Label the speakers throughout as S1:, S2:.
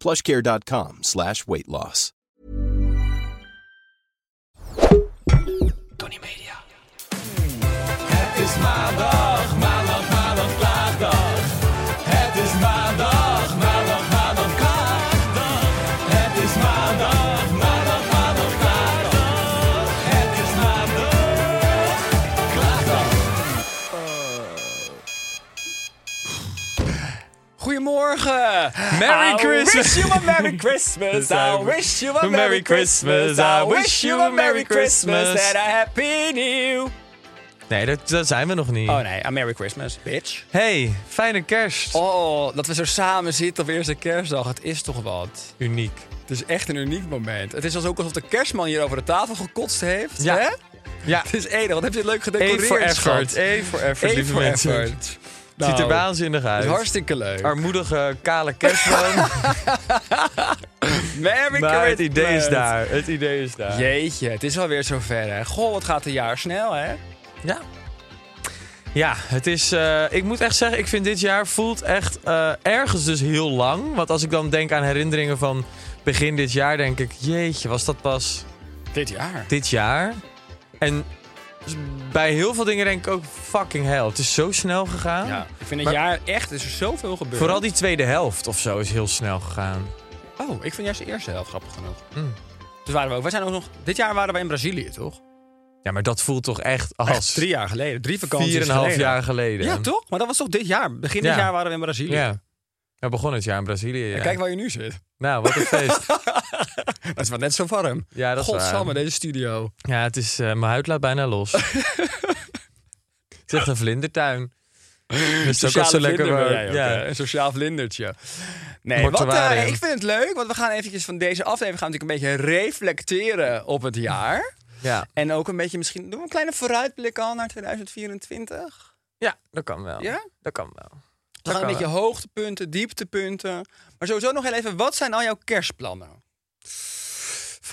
S1: Plushcare.com slash weight loss.
S2: Tony Media. Het is maandag, maandag, maandag, klaagdag. Het is maandag, maandag, maandag, klaagdag. Het is maandag, maandag, maandag, klaagdag. Het is maandag, klaagdag. Goedemorgen. Merry Christmas.
S3: wish you a Merry Christmas. I wish you a Merry Christmas. I wish you a Merry Christmas and a Happy New.
S2: Nee, dat, dat zijn we nog niet.
S3: Oh nee, a Merry Christmas, bitch.
S2: Hey, fijne kerst.
S3: Oh, dat we zo samen zitten op eerste kerstdag. Het is toch wat.
S2: Uniek.
S3: Het is echt een uniek moment. Het is ook alsof de kerstman hier over de tafel gekotst heeft.
S2: Ja.
S3: Hè?
S2: Ja.
S3: Het is enig. Wat heb je leuk
S2: Eén
S3: gedecoreerd,
S2: voor
S3: schat.
S2: effort. Eén voor effort,
S3: Eén
S2: lieve
S3: voor
S2: mensen.
S3: effort.
S2: Het ziet er
S3: Nou,
S2: waanzinnig uit.
S3: Het is hartstikke leuk.
S2: Armoedige, kale kerstboom.
S3: Merry
S2: maar
S3: Christmas.
S2: het idee is daar. Het idee is daar.
S3: Jeetje, het is alweer zover hè. Goh, wat gaat een jaar snel hè.
S2: Ja. Ja, het is. eh, ik moet echt zeggen, ik vind dit jaar voelt echt eh, ergens dus heel lang. Want als ik dan denk aan herinneringen van begin dit jaar, denk ik, jeetje, was dat pas
S3: Dit jaar.
S2: dit jaar? En s- bij heel veel dingen denk ik ook fucking hell. Het is zo snel gegaan.
S3: Ja, ik vind het
S2: Ah. Maar-
S3: jaar echt, is er zoveel gebeurd.
S2: Vooral die tweede helft of zo is heel snel gegaan.
S3: Oh, ik vind juist de eerste helft grappig genoeg.
S2: Hmm.
S3: Dus waren we ook, we zijn ook nog, dit jaar waren we in Brazilië toch?
S2: Ja, maar dat voelt toch echt als
S3: Echt drie jaar geleden, drie vakanties
S2: vier en een half
S3: geleden.
S2: jaar geleden.
S3: Ja toch? Maar dat was toch dit jaar? Begin
S2: Ja.
S3: dit jaar waren we in Brazilië.
S2: Ja. Ja, begon het jaar in Brazilië. ja.
S3: En kijk waar je nu zit.
S2: Nou, wat een feest.
S3: Dat is wel net zo warm.
S2: Ja, dat is waar.
S3: Godsamme, deze studio.
S2: Ja, het is, eh, mijn huid laat bijna los. het is echt een vlindertuin. Dat is ook
S3: Sociaal
S2: al zo lekker warm.
S3: eh, ja.
S2: Ja.
S3: Een sociaal vlindertje. Nee, wat,
S2: Mortuarium.
S3: eh, ik vind het leuk, want we gaan eventjes van deze aflevering gaan we natuurlijk een beetje reflecteren op het jaar.
S2: Ja.
S3: En ook een beetje misschien, doen we een kleine vooruitblik al naar 2024.
S2: ja, dat kan wel.
S3: Ja?
S2: Dat kan wel.
S3: We gaan een beetje hoogtepunten, dieptepunten. Maar sowieso nog heel even, wat zijn al jouw kerstplannen?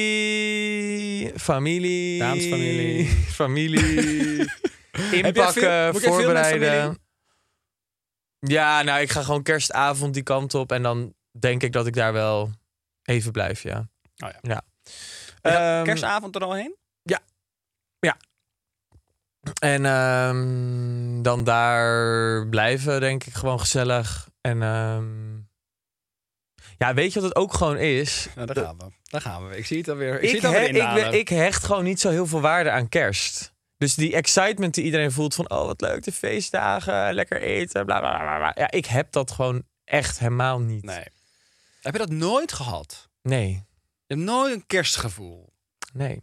S2: Familie. Familie.
S3: Daamsfamilie.
S2: Familie.
S3: Ehm, Heb jij veel-
S2: Inpakken,
S3: moet jij veel met
S2: voorbereiden.
S3: familie?
S2: Ja, nou, ik ga gewoon kerstavond die kant op. En dan denk ik dat ik daar wel even blijf, ja.
S3: Oh ja.
S2: ja.
S3: Ehm,
S2: Ehm,
S3: Kerstavond er al heen?
S2: En ehm, dan daar blijven, denk ik, gewoon gezellig. En ehm, ja, weet je wat het ook gewoon is?
S3: Nou, daar
S2: Dat-
S3: gaan we. Daar gaan we. Ik zie het alweer. Ik, zie
S2: Ik,
S3: het alweer
S2: he- ik,
S3: inhalen.
S2: ben- ik hecht gewoon niet zo heel veel waarde aan kerst. Dus die excitement die iedereen voelt van, oh wat leuk, de feestdagen, lekker eten, bla bla bla. bla. Ja, ik heb dat gewoon echt helemaal niet.
S3: Nee. Heb je dat nooit gehad?
S2: Nee,
S3: Je hebt nooit een kerstgevoel.
S2: nee.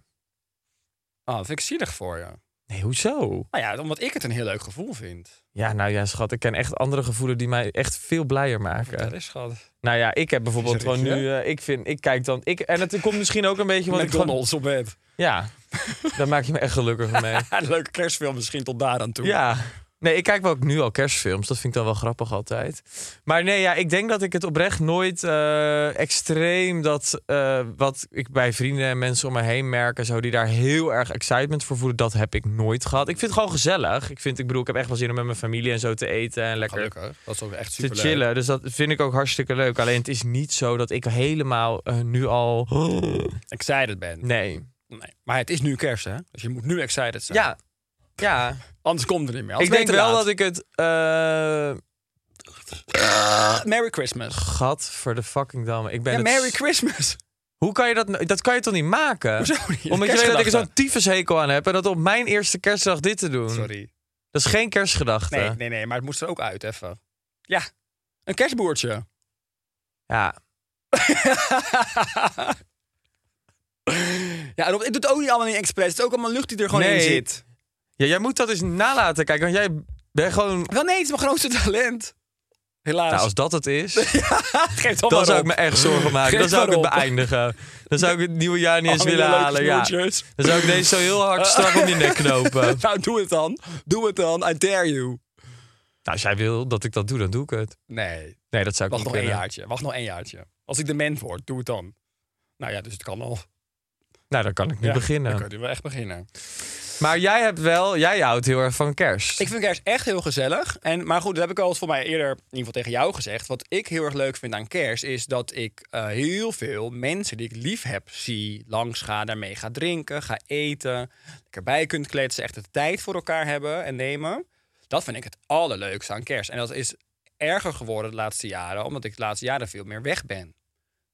S3: Ah, dat vind ik zielig voor je.
S2: Nee, hoezo?
S3: Nou ja, omdat ik het een heel leuk gevoel vind.
S2: Ja, nou ja, schat, ik ken echt andere gevoelen die mij echt veel blijer maken.
S3: Dat is schat.
S2: Nou ja, ik heb bijvoorbeeld
S3: Is er
S2: gewoon nu.
S3: iets,
S2: eh, ik vind, ik kijk dan. Ik, en het komt misschien ook een beetje. Want ik gewoon,
S3: McDonald's op bed.
S2: ja, daar maak je me echt gelukkig mee.
S3: Leuke kerstfilm misschien tot daar aan toe.
S2: Ja. Nee, ik kijk wel ook nu al kerstfilms. Dat vind ik dan wel grappig altijd. Maar nee, ja, ik denk dat ik het oprecht nooit eh, extreem dat eh, wat ik bij vrienden en mensen om me heen merk en zo, die daar heel erg excitement voor voelen, dat heb ik nooit gehad. Ik vind het gewoon gezellig. Ik vind, ik bedoel, ik heb echt wel zin om met mijn familie en zo te eten en lekker
S3: Gelukkig. Dat is ook echt
S2: te
S3: super
S2: chillen. Dus dat vind ik ook hartstikke leuk. Alleen het is niet zo dat ik helemaal eh, nu al.
S3: Excited ben.
S2: Nee.
S3: Nee. Maar het is nu kerst, hè? Dus je moet nu excited zijn.
S2: Ja. Ja.
S3: Anders komt het niet meer.
S2: Ik denk wel dat ik het. eh
S3: Merry Christmas.
S2: Gat voor de fucking dam. Ik ben
S3: Ja,
S2: het
S3: Merry Christmas.
S2: Hoe kan je dat... nou- Dat kan je toch niet maken?
S3: Hoezo niet?
S2: Omdat je weet dat ik er
S3: Kerstgedachte.
S2: zo'n tyfushekel aan heb... en dat op mijn eerste kerstdag dit te doen.
S3: Sorry.
S2: Dat is geen kerstgedachte.
S3: Nee, nee, nee, maar het moest er ook uit, even. Ja, een kerstboertje.
S2: Ja.
S3: ja, en op- ik doe het ook niet allemaal niet expres. Het is ook allemaal lucht die er gewoon in
S2: Nee.
S3: zit.
S2: ja, jij moet dat eens nalaten kijken. Want jij bent gewoon...
S3: Wel nee, het is mijn grootste talent. Helaas.
S2: Nou, als dat het is...
S3: Geef dan
S2: Dan zou ik me echt zorgen maken. Dan
S3: Geef
S2: zou ik het
S3: maar op.
S2: beëindigen. Dan zou ik het nieuwe jaar niet eens
S3: Allemaal
S2: willen
S3: leuke
S2: halen. Ja.
S3: snoertjes.
S2: Dan zou ik deze zo heel hard strak om je nek knopen. Nou,
S3: nou, doe het dan. Doe het dan. I dare you.
S2: als jij wil dat ik dat doe, dan doe ik het.
S3: Nee,
S2: Nee, dat zou ik
S3: wacht
S2: niet
S3: nog één
S2: kunnen.
S3: jaartje. Wacht nog één jaartje. Als ik de man word, doe het dan. Nou ja, dus het kan al.
S2: Nou, dan kan ik nu
S3: Ja,
S2: beginnen.
S3: Dan kun je wel echt beginnen.
S2: Maar jij hebt wel... Jij houdt heel erg van kerst.
S3: Ik vind kerst echt heel gezellig. En, maar goed, dat heb ik al eens voor mij eerder in ieder geval tegen jou gezegd. Wat ik heel erg leuk vind aan kerst is dat ik eh, heel veel mensen die ik lief heb zie langs ga, daarmee ga drinken, ga eten, lekker bij kunt kletsen, echt de tijd voor elkaar hebben en nemen. Dat vind ik het allerleukste aan kerst. En dat is erger geworden de laatste jaren, omdat ik de laatste jaren veel meer weg ben.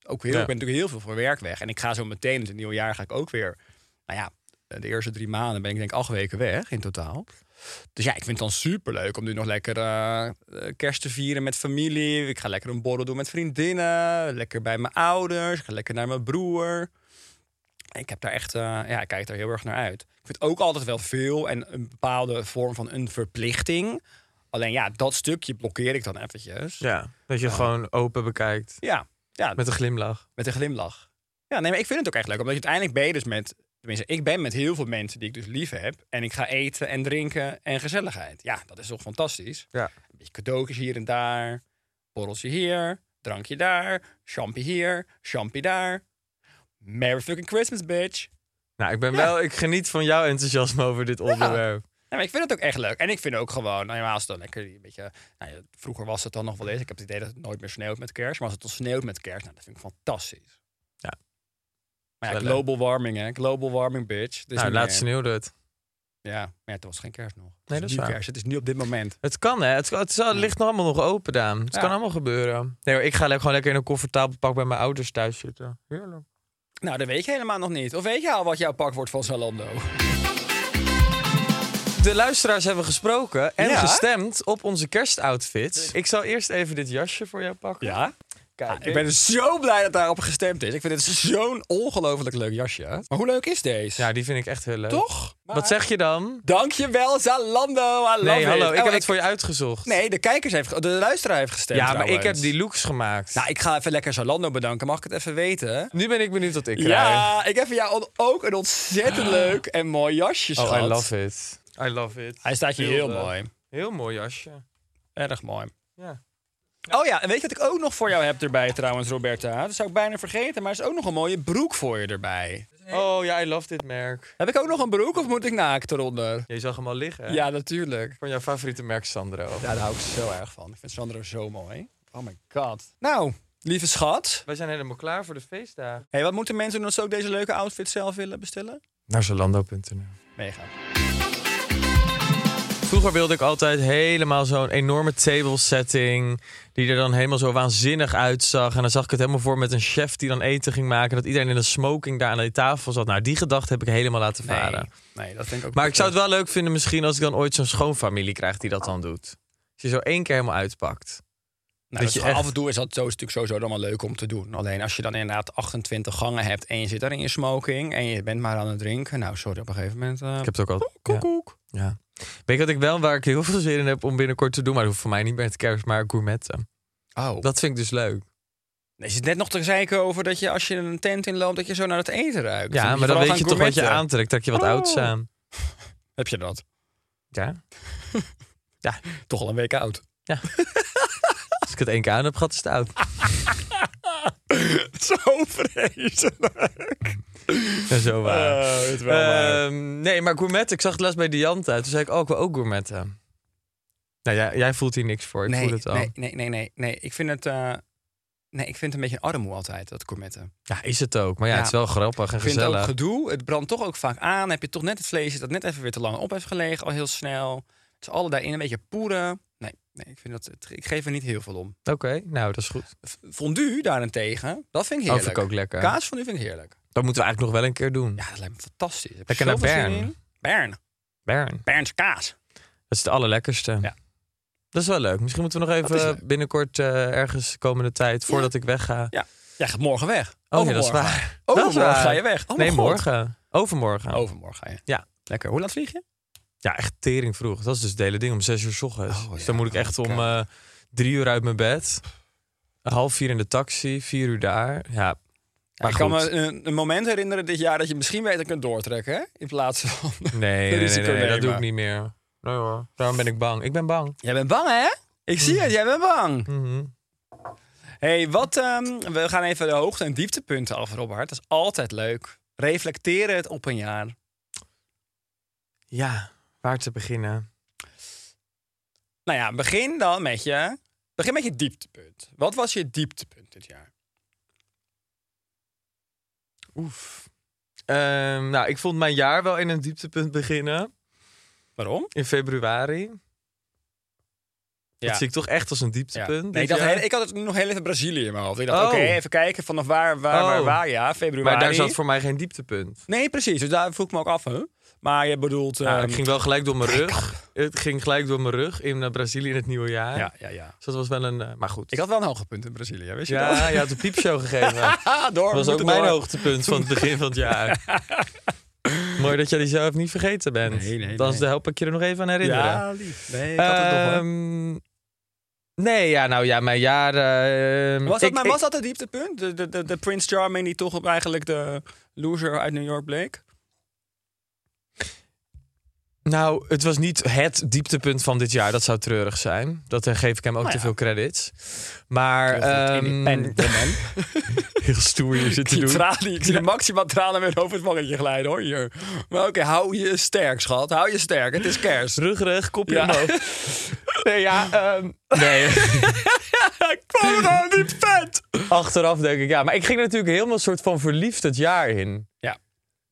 S3: Ook heel,
S2: Ja.
S3: Ik ben natuurlijk heel veel voor werk weg. En ik ga zo meteen, in het nieuwe jaar ga ik ook weer. Nou ja, de eerste drie maanden ben ik denk ik acht weken weg in totaal. Dus ja, ik vind het dan superleuk om nu nog lekker eh, eh, kerst te vieren met familie. Ik ga lekker een borrel doen met vriendinnen. Lekker bij mijn ouders. Ik ga lekker naar mijn broer. Ik heb daar echt, eh, ja, ik kijk daar heel erg naar uit. Ik vind ook altijd wel veel en een bepaalde vorm van een verplichting. Alleen ja, dat stukje blokkeer ik dan eventjes.
S2: Ja, dat je gewoon open bekijkt.
S3: Ja, ja,
S2: Met een glimlach.
S3: met een glimlach. Ja, nee, maar ik vind het ook echt leuk. Omdat je uiteindelijk ben je dus met... Tenminste, ik ben met heel veel mensen die ik dus lief heb. En ik ga eten en drinken en gezelligheid. Ja, dat is toch fantastisch?
S2: Ja.
S3: Een beetje cadeautjes hier en daar. Borreltje hier. Drankje daar. Champie hier. Champie daar. Merry fucking Christmas, bitch.
S2: Nou, ik ben
S3: Ja.
S2: wel... Ik geniet van jouw enthousiasme over dit onderwerp.
S3: Ja, maar ik vind het ook echt leuk. En ik vind ook gewoon, nou ja, als het dan lekker een beetje... Nou ja, vroeger was het dan nog wel eens. Ik heb het idee dat het nooit meer sneeuwt met kerst. Maar als het dan sneeuwt met kerst, nou, dat vind ik fantastisch.
S2: Ja.
S3: Maar ja,
S2: Wel leuk.
S3: global warming, hè. Global warming, bitch. Het is
S2: nou,
S3: niet
S2: laatst
S3: meer-
S2: sneeuwde het.
S3: Ja, maar ja, het was geen kerst nog. Het
S2: Nee,
S3: is
S2: dat is
S3: nu
S2: waar.
S3: kerst. Het is nu op dit moment.
S2: Het kan, hè? Het, het, is- het ligt nog allemaal nog open, Daan. Het
S3: Ja.
S2: kan allemaal gebeuren. Nee, hoor, ik ga le- gewoon lekker in een comfortabel pak bij mijn ouders thuis zitten. Heerlijk.
S3: Nou, dat weet je helemaal nog niet. Of weet je al wat jouw pak wordt van Zalando?
S2: De luisteraars hebben gesproken en
S3: Ja.
S2: gestemd op onze kerstoutfits. Ik zal eerst even dit jasje voor jou pakken.
S3: Ja?
S2: Kijk,
S3: Ik ben zo blij dat daarop gestemd is. Ik vind het zo'n ongelooflijk leuk jasje. Maar hoe leuk is deze?
S2: Ja, Nou, die vind ik echt heel leuk.
S3: Toch?
S2: Wat zeg je dan?
S3: Dankjewel, Zalando. I love
S2: Nee,
S3: it.
S2: hallo,
S3: Oh,
S2: ik heb het voor je uitgezocht.
S3: Nee, de kijkers heeft, ge- de luisteraar heeft gestemd.
S2: ja, maar ik heb
S3: trouwens.
S2: die looks gemaakt.
S3: Nou, ik ga even lekker Zalando bedanken. Mag ik het even weten?
S2: nu ben ik benieuwd wat ik krijg. Ah.
S3: Ja, ik heb voor jou on- ook een ontzettend leuk en mooi jasje, schat.
S2: Oh, I love it. I love it.
S3: Hij staat je heel
S2: Beelden.
S3: mooi.
S2: Heel eh, mooi jasje.
S3: Erg mooi.
S2: Ja.
S3: Oh ja, en weet je wat ik ook nog voor jou heb erbij trouwens, Roberta? Dat zou ik bijna vergeten, maar er is ook nog een mooie broek voor je erbij.
S2: Oh ja, I love dit merk.
S3: Heb ik ook nog een broek of moet ik naakt eronder?
S2: Je zag hem al liggen. hè?
S3: Ja, natuurlijk.
S2: Van jouw favoriete merk, Sandro.
S3: Ja, daar hou ik zo erg van. Ik vind Sandro zo mooi. Oh my god. Nou, lieve schat.
S2: Wij zijn helemaal klaar voor de feestdagen.
S3: hey, wat moeten mensen doen als ze ook deze leuke outfit zelf willen bestellen?
S2: Naar Zalando.nl.
S3: Mega.
S2: Vroeger wilde ik altijd helemaal zo'n enorme table setting. Die er dan helemaal zo waanzinnig uitzag. En dan zag ik het helemaal voor met een chef die dan eten ging maken. Dat iedereen in een smoking daar aan die tafel zat. Nou, die gedachte heb ik helemaal laten varen.
S3: Nee, nee, dat denk ik ook
S2: Maar ik zou het wel leuk vinden misschien als ik dan ooit zo'n schoonfamilie krijg die dat dan doet. Als je zo één keer helemaal uitpakt.
S3: Nou,
S2: Dat
S3: dat is
S2: je
S3: gewoon-
S2: echt-
S3: Af en toe is dat zo, is natuurlijk sowieso dan wel leuk om te doen. Alleen als je dan inderdaad 28 gangen hebt en je zit daar in je smoking en je bent maar aan het drinken. Nou, sorry, op een gegeven moment. eh,
S2: Ik heb het ook al...
S3: koek,
S2: ja.
S3: koek.
S2: Ja. Weet je wat ik wel, waar ik heel veel zin in heb om binnenkort te doen, maar dat hoeft voor mij niet meer het kerst, maar gourmetten.
S3: Oh.
S2: Dat vind ik dus leuk.
S3: Er zit net nog te zeiken over dat je als je een tent inloopt, dat je zo naar het eten ruikt. moet
S2: Ja, maar
S3: vooral
S2: dan weet je
S3: gaan
S2: toch wat je
S3: gourmetten.
S2: aantrekt, trek je wat
S3: Oh.
S2: ouds aan.
S3: Heb je dat?
S2: Ja.
S3: Toch al een week oud.
S2: Als ik het één keer aan heb gehad, is het oud.
S3: zo vreselijk.
S2: Ja, zo waar.
S3: Oh, dit is wel waar.
S2: Eh, Ehm, nee, maar gourmetten, ik zag het laatst bij Dianta. Toen zei ik, oh, ik wil ook gourmetten. Nou, jij, jij voelt hier niks voor. Ik
S3: nee,
S2: voel het al.
S3: nee, nee, nee, nee, nee. Ik vind het, eh, nee, ik vind het een beetje een armoe altijd, dat gourmetten.
S2: Ja, is het ook. Maar ja,
S3: Ja.
S2: het is wel grappig en
S3: Ik vind het ook
S2: gezellig.
S3: gedoe. Het brandt toch ook vaak aan. Heb je toch net het vleesje dat net even weer te lang op heeft gelegen, al heel snel. Het is alle daarin een beetje poeren. Nee, nee ik, vind dat, het- ik geef er niet heel veel om.
S2: Oké, nou dat is goed.
S3: F- Fondue daarentegen, dat vind ik
S2: Oh,
S3: heerlijk.
S2: vind ik ook lekker.
S3: Kaasfondue vind ik heerlijk.
S2: Dat moeten we eigenlijk nog wel een keer doen.
S3: Ja, dat lijkt me fantastisch. Heb
S2: Lekker
S3: ik
S2: naar
S3: zoveel
S2: Bern.
S3: zin in. Bern.
S2: Bern.
S3: Berns kaas.
S2: Dat is het allerlekkerste.
S3: Ja.
S2: Dat is wel leuk. Misschien moeten we nog
S3: Dat is
S2: even
S3: leuk.
S2: binnenkort eh, ergens de komende tijd, voordat ik wegga.
S3: Ja. Jij gaat morgen weg.
S2: Oh, nee, dat is
S3: Overmorgen.
S2: waar. Dat is
S3: Overmorgen
S2: waar.
S3: ga je weg. Oh, mijn
S2: nee,
S3: God.
S2: morgen. Overmorgen.
S3: Overmorgen ga je.
S2: Ja.
S3: Lekker. Hoe laat vlieg je?
S2: Ja, echt tering vroeg. Dat is dus het hele ding om zes uur 's ochtends.
S3: Oh,
S2: Dus
S3: ja.
S2: dan moet ik echt om eh, drie uur uit mijn bed. Half vier in de taxi, vier uur daar. Ja,
S3: Ja,
S2: maar
S3: ik
S2: goed.
S3: kan me een, een moment herinneren dit jaar dat je misschien beter kunt doortrekken. Hè? In plaats van...
S2: Nee, nee, nee,
S3: risico
S2: nee, dat
S3: nemen.
S2: doe ik niet meer. Nee hoor, daarom ben ik bang. Ik ben bang.
S3: Jij bent bang, hè? Ik zie het, jij bent bang.
S2: Mhm.
S3: hey, wat... ehm, we gaan even de hoogte- en dieptepunten af, Robert. Dat is altijd leuk. Reflecteren het op een jaar.
S2: Ja, waar te beginnen?
S3: Nou ja, begin dan met je... Begin met je dieptepunt. Wat was je dieptepunt dit jaar?
S2: Oef. Ehm, nou, ik vond mijn jaar wel in een dieptepunt beginnen.
S3: Waarom?
S2: In februari. Dat zie ik toch echt als een dieptepunt.
S3: Nee, ik,
S2: dit
S3: dacht,
S2: jaar.
S3: heel- ik had het nog heel even Brazilië in mijn hoofd. Ik dacht,
S2: Oh.
S3: oké, even kijken vanaf waar, waar, waar,
S2: Oh.
S3: waar, ja, februari.
S2: maar daar zat voor mij geen dieptepunt.
S3: Nee, precies. Dus daar vroeg ik me ook af, hè? Maar je bedoelt...
S2: Nou,
S3: ehm,
S2: het ging wel gelijk door mijn rug. Het ging gelijk door mijn rug in eh, Brazilië in het nieuwe jaar.
S3: Ja, ja, ja.
S2: Dus dat was wel een... eh, maar goed.
S3: Ik had wel een hoogtepunt in Brazilië, wist je dat?
S2: ja, je had een piepshow gegeven.
S3: Ah, door.
S2: Dat
S3: we
S2: was ook
S3: moeten
S2: mijn
S3: door.
S2: hoogtepunt van het begin van het jaar. Mooi dat jij die zelf niet vergeten bent.
S3: Nee, nee,
S2: Dan
S3: nee.
S2: help ik je er nog even aan herinneren.
S3: Ja, lief. Nee, ik had het nog hoor.
S2: Ehm, nee, ja, nou ja, mijn jaar... ehm,
S3: Was dat,
S2: ik-
S3: maar
S2: ik-
S3: was dat het dieptepunt? De, de, de, de Prince Charming die toch op eigenlijk de loser uit New York bleek?
S2: Nou, het was niet het dieptepunt van dit jaar. Dat zou treurig zijn. Dat eh, geef ik hem ook
S3: Nou
S2: te
S3: ja.
S2: veel credits. Maar... ehm,
S3: en
S2: heel stoer hier zitten
S3: die
S2: doen.
S3: tralie, ik zie de maximaal tranen weer over het mannetje glijden hoor hier. Maar oké, hou je sterk schat, hou je sterk, het is kerst.
S2: Ruggerig, kopje
S3: Ja.
S2: omhoog. Nee, ja, ehm, nee.
S3: Ik kwam er nou niet vet!
S2: Achteraf denk ik, ja. Maar ik ging er natuurlijk helemaal soort van verliefd het jaar in.
S3: Ja.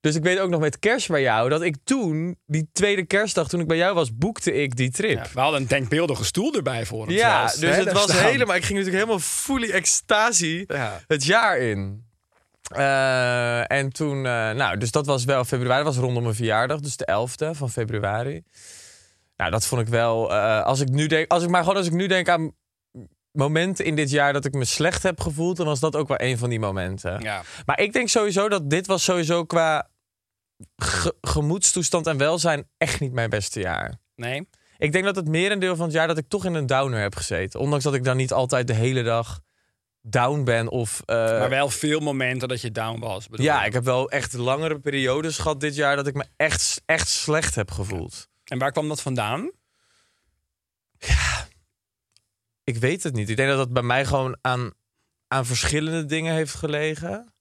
S2: Dus ik weet ook nog met kerst bij jou... dat ik toen, die tweede kerstdag toen ik bij jou was... boekte ik die trip. Ja.
S3: we hadden een denkbeeldige stoel erbij voor hem. zelfs,
S2: dus
S3: hè,
S2: het
S3: daar
S2: was
S3: staan.
S2: helemaal. Ik ging natuurlijk helemaal fully extasie
S3: Ja.
S2: het jaar in. Eh, en toen, eh, nou, dus dat was wel februari, dat was rondom mijn verjaardag, dus de 11e van februari. Nou, dat vond ik wel. eh, als ik nu denk, als ik maar gewoon als ik nu denk aan momenten in dit jaar dat ik me slecht heb gevoeld, dan was dat ook wel een van die momenten.
S3: Ja.
S2: Maar ik denk sowieso dat dit was sowieso qua ge- gemoedstoestand en welzijn echt niet mijn beste jaar.
S3: Nee.
S2: Ik denk dat het merendeel van het jaar dat ik toch in een downer heb gezeten. Ondanks dat ik dan niet altijd de hele dag down ben of... eh,
S3: maar wel veel momenten dat je down was. bedoel
S2: ja,
S3: je?
S2: ik heb wel echt langere periodes gehad dit jaar dat ik me echt, echt slecht heb gevoeld.
S3: En waar kwam dat vandaan?
S2: Ik weet het niet. Ik denk dat dat bij mij gewoon aan, aan verschillende dingen heeft gelegen.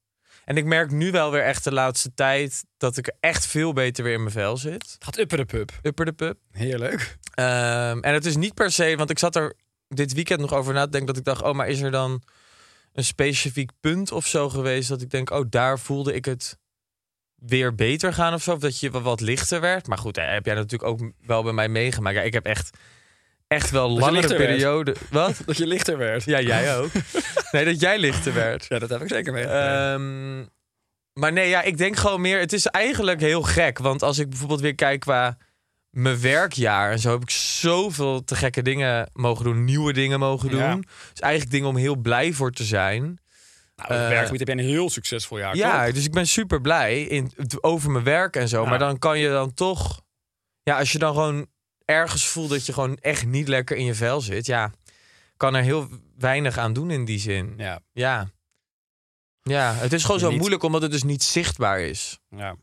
S2: En ik merk nu wel weer echt de laatste tijd dat ik er echt veel beter weer in mijn vel zit.
S3: Het gaat upper de pup.
S2: Upper de pup.
S3: Heerlijk.
S2: Ehm, en het is niet per se, want ik zat er dit weekend nog over na te denken dat ik dacht, oh, maar is er dan een specifiek punt of zo geweest dat ik denk, oh, daar voelde ik het weer beter gaan of zo, of dat je wel wat lichter werd. Maar goed, hè, heb jij natuurlijk ook wel bij mij meegemaakt. Ja, ik heb echt, echt wel
S3: je
S2: langere
S3: lichter werd.
S2: perioden. Wat?
S3: Dat je lichter werd.
S2: Ja, jij ook. Nee, dat jij lichter werd.
S3: Ja, dat heb ik zeker mee.
S2: Ehm, maar nee, ja, ik denk gewoon meer. Het is eigenlijk heel gek. Want als ik bijvoorbeeld weer kijk qua mijn werkjaar en zo heb ik zoveel te gekke dingen mogen doen, nieuwe dingen mogen doen.
S3: Ja.
S2: Dus eigenlijk dingen om heel blij voor te zijn.
S3: nou, op
S2: eh,
S3: werkgebied heb je een heel succesvol jaar,
S2: ja,
S3: toch?
S2: dus ik ben super blij in, over mijn werk en zo.
S3: Ja.
S2: Maar dan kan je dan toch, ja, als je dan gewoon ergens voelt dat je gewoon echt niet lekker in je vel zit, ja, kan er heel weinig aan doen in die zin.
S3: Ja.
S2: Ja. Ja, het is gewoon zo
S3: Niet-
S2: moeilijk omdat het dus niet zichtbaar is.
S3: ja.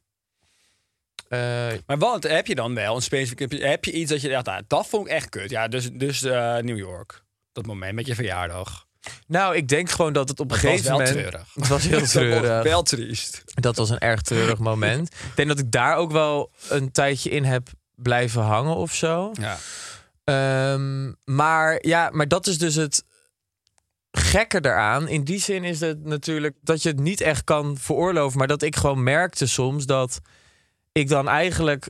S2: Eh,
S3: Maar wat heb je dan wel? Een specifiek, heb, je, heb je iets dat je dacht, nou, dat vond ik echt kut. Ja, dus, dus eh, New York. Dat moment met je verjaardag.
S2: nou, ik denk gewoon dat het op
S3: Dat
S2: een
S3: was
S2: gegeven
S3: wel
S2: moment...
S3: treurig.
S2: Het was heel
S3: Dat was
S2: treurig.
S3: wel triest.
S2: Dat was een erg treurig moment. ik denk dat ik daar ook wel een tijdje in heb blijven hangen of zo.
S3: Ja.
S2: Ehm, maar ja, maar dat is dus het gekke daaraan. In die zin is het natuurlijk dat je het niet echt kan veroorloven. Maar dat ik gewoon merkte soms dat ik dan eigenlijk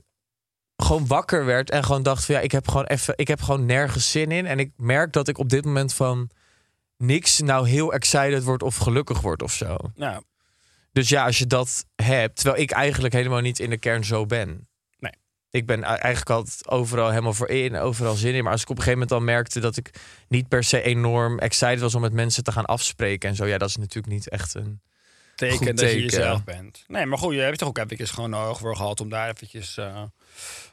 S2: gewoon wakker werd en gewoon dacht van ja, ik heb gewoon even, ik heb gewoon nergens zin in. En ik merk dat ik op dit moment van niks nou heel excited word of gelukkig word of zo.
S3: Nou,
S2: Dus ja, als je dat hebt, terwijl ik eigenlijk helemaal niet in de kern zo ben.
S3: Nee.
S2: Ik ben a- eigenlijk altijd overal helemaal voor in, overal zin in. Maar als ik op een gegeven moment al merkte dat ik niet per se enorm excited was om met mensen te gaan afspreken en zo, ja, dat is natuurlijk niet echt een.
S3: teken
S2: Goed
S3: dat je
S2: teken.
S3: jezelf bent. Nee, maar goed, je hebt toch ook eventjes gewoon nodig voor gehad om daar eventjes eh,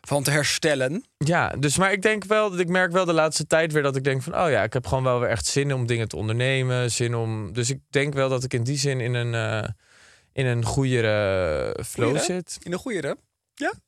S3: van te herstellen.
S2: Ja, dus maar ik denk wel, dat ik merk wel de laatste tijd weer dat ik denk van, oh ja, ik heb gewoon wel weer echt zin om dingen te ondernemen, zin om. Dus ik denk wel dat ik in die zin in een eh in een goeiere flow
S3: Goeiere?
S2: zit.
S3: In een goeiere.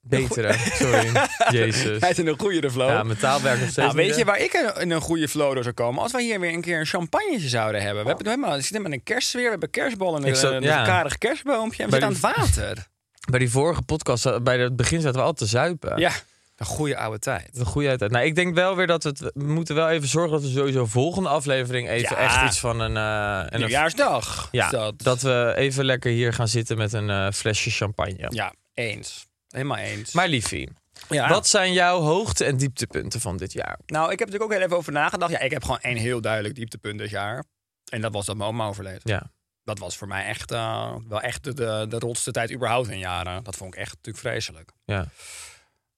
S2: Betere, sorry. Jezus.
S3: Hij is in een goeiere flow.
S2: Ja, mijn taal werkt nog steeds.
S3: Nou, weet
S2: niet,
S3: je
S2: hè?
S3: waar ik in- in een goede flow door zou komen? Als wij hier weer een keer een champagnetje zouden hebben. We hebben het helemaal, we zitten met een kerstsfeer, we hebben kerstballen en
S2: Oh. Ik
S3: een,
S2: zou-
S3: een
S2: ja.
S3: karig kerstboompje. En we
S2: Bij
S3: zitten aan het water.
S2: Bij die vorige podcast, eh, bij het begin zaten we altijd te zuipen.
S3: Ja, een goede oude tijd.
S2: De goede uit. Nou, ik denk wel weer dat we, het, we moeten wel even zorgen dat we sowieso volgende aflevering even
S3: Ja.
S2: echt iets van een... eh, een
S3: Nieuwjaarsdag.
S2: ja,
S3: is
S2: dat.
S3: dat.
S2: we even lekker hier gaan zitten met een eh, flesje champagne.
S3: Ja, eens. Helemaal eens.
S2: Maar liefie,
S3: ja.
S2: wat zijn jouw hoogte- en dieptepunten van dit jaar?
S3: Nou, ik heb natuurlijk ook heel even over nagedacht. Ja, ik heb gewoon één heel duidelijk dieptepunt dit jaar. En dat was dat mijn oma overleed.
S2: Ja.
S3: Dat was voor mij echt, eh, wel echt de, de, de rotste tijd überhaupt in jaren. Dat vond ik echt natuurlijk vreselijk.
S2: Ja.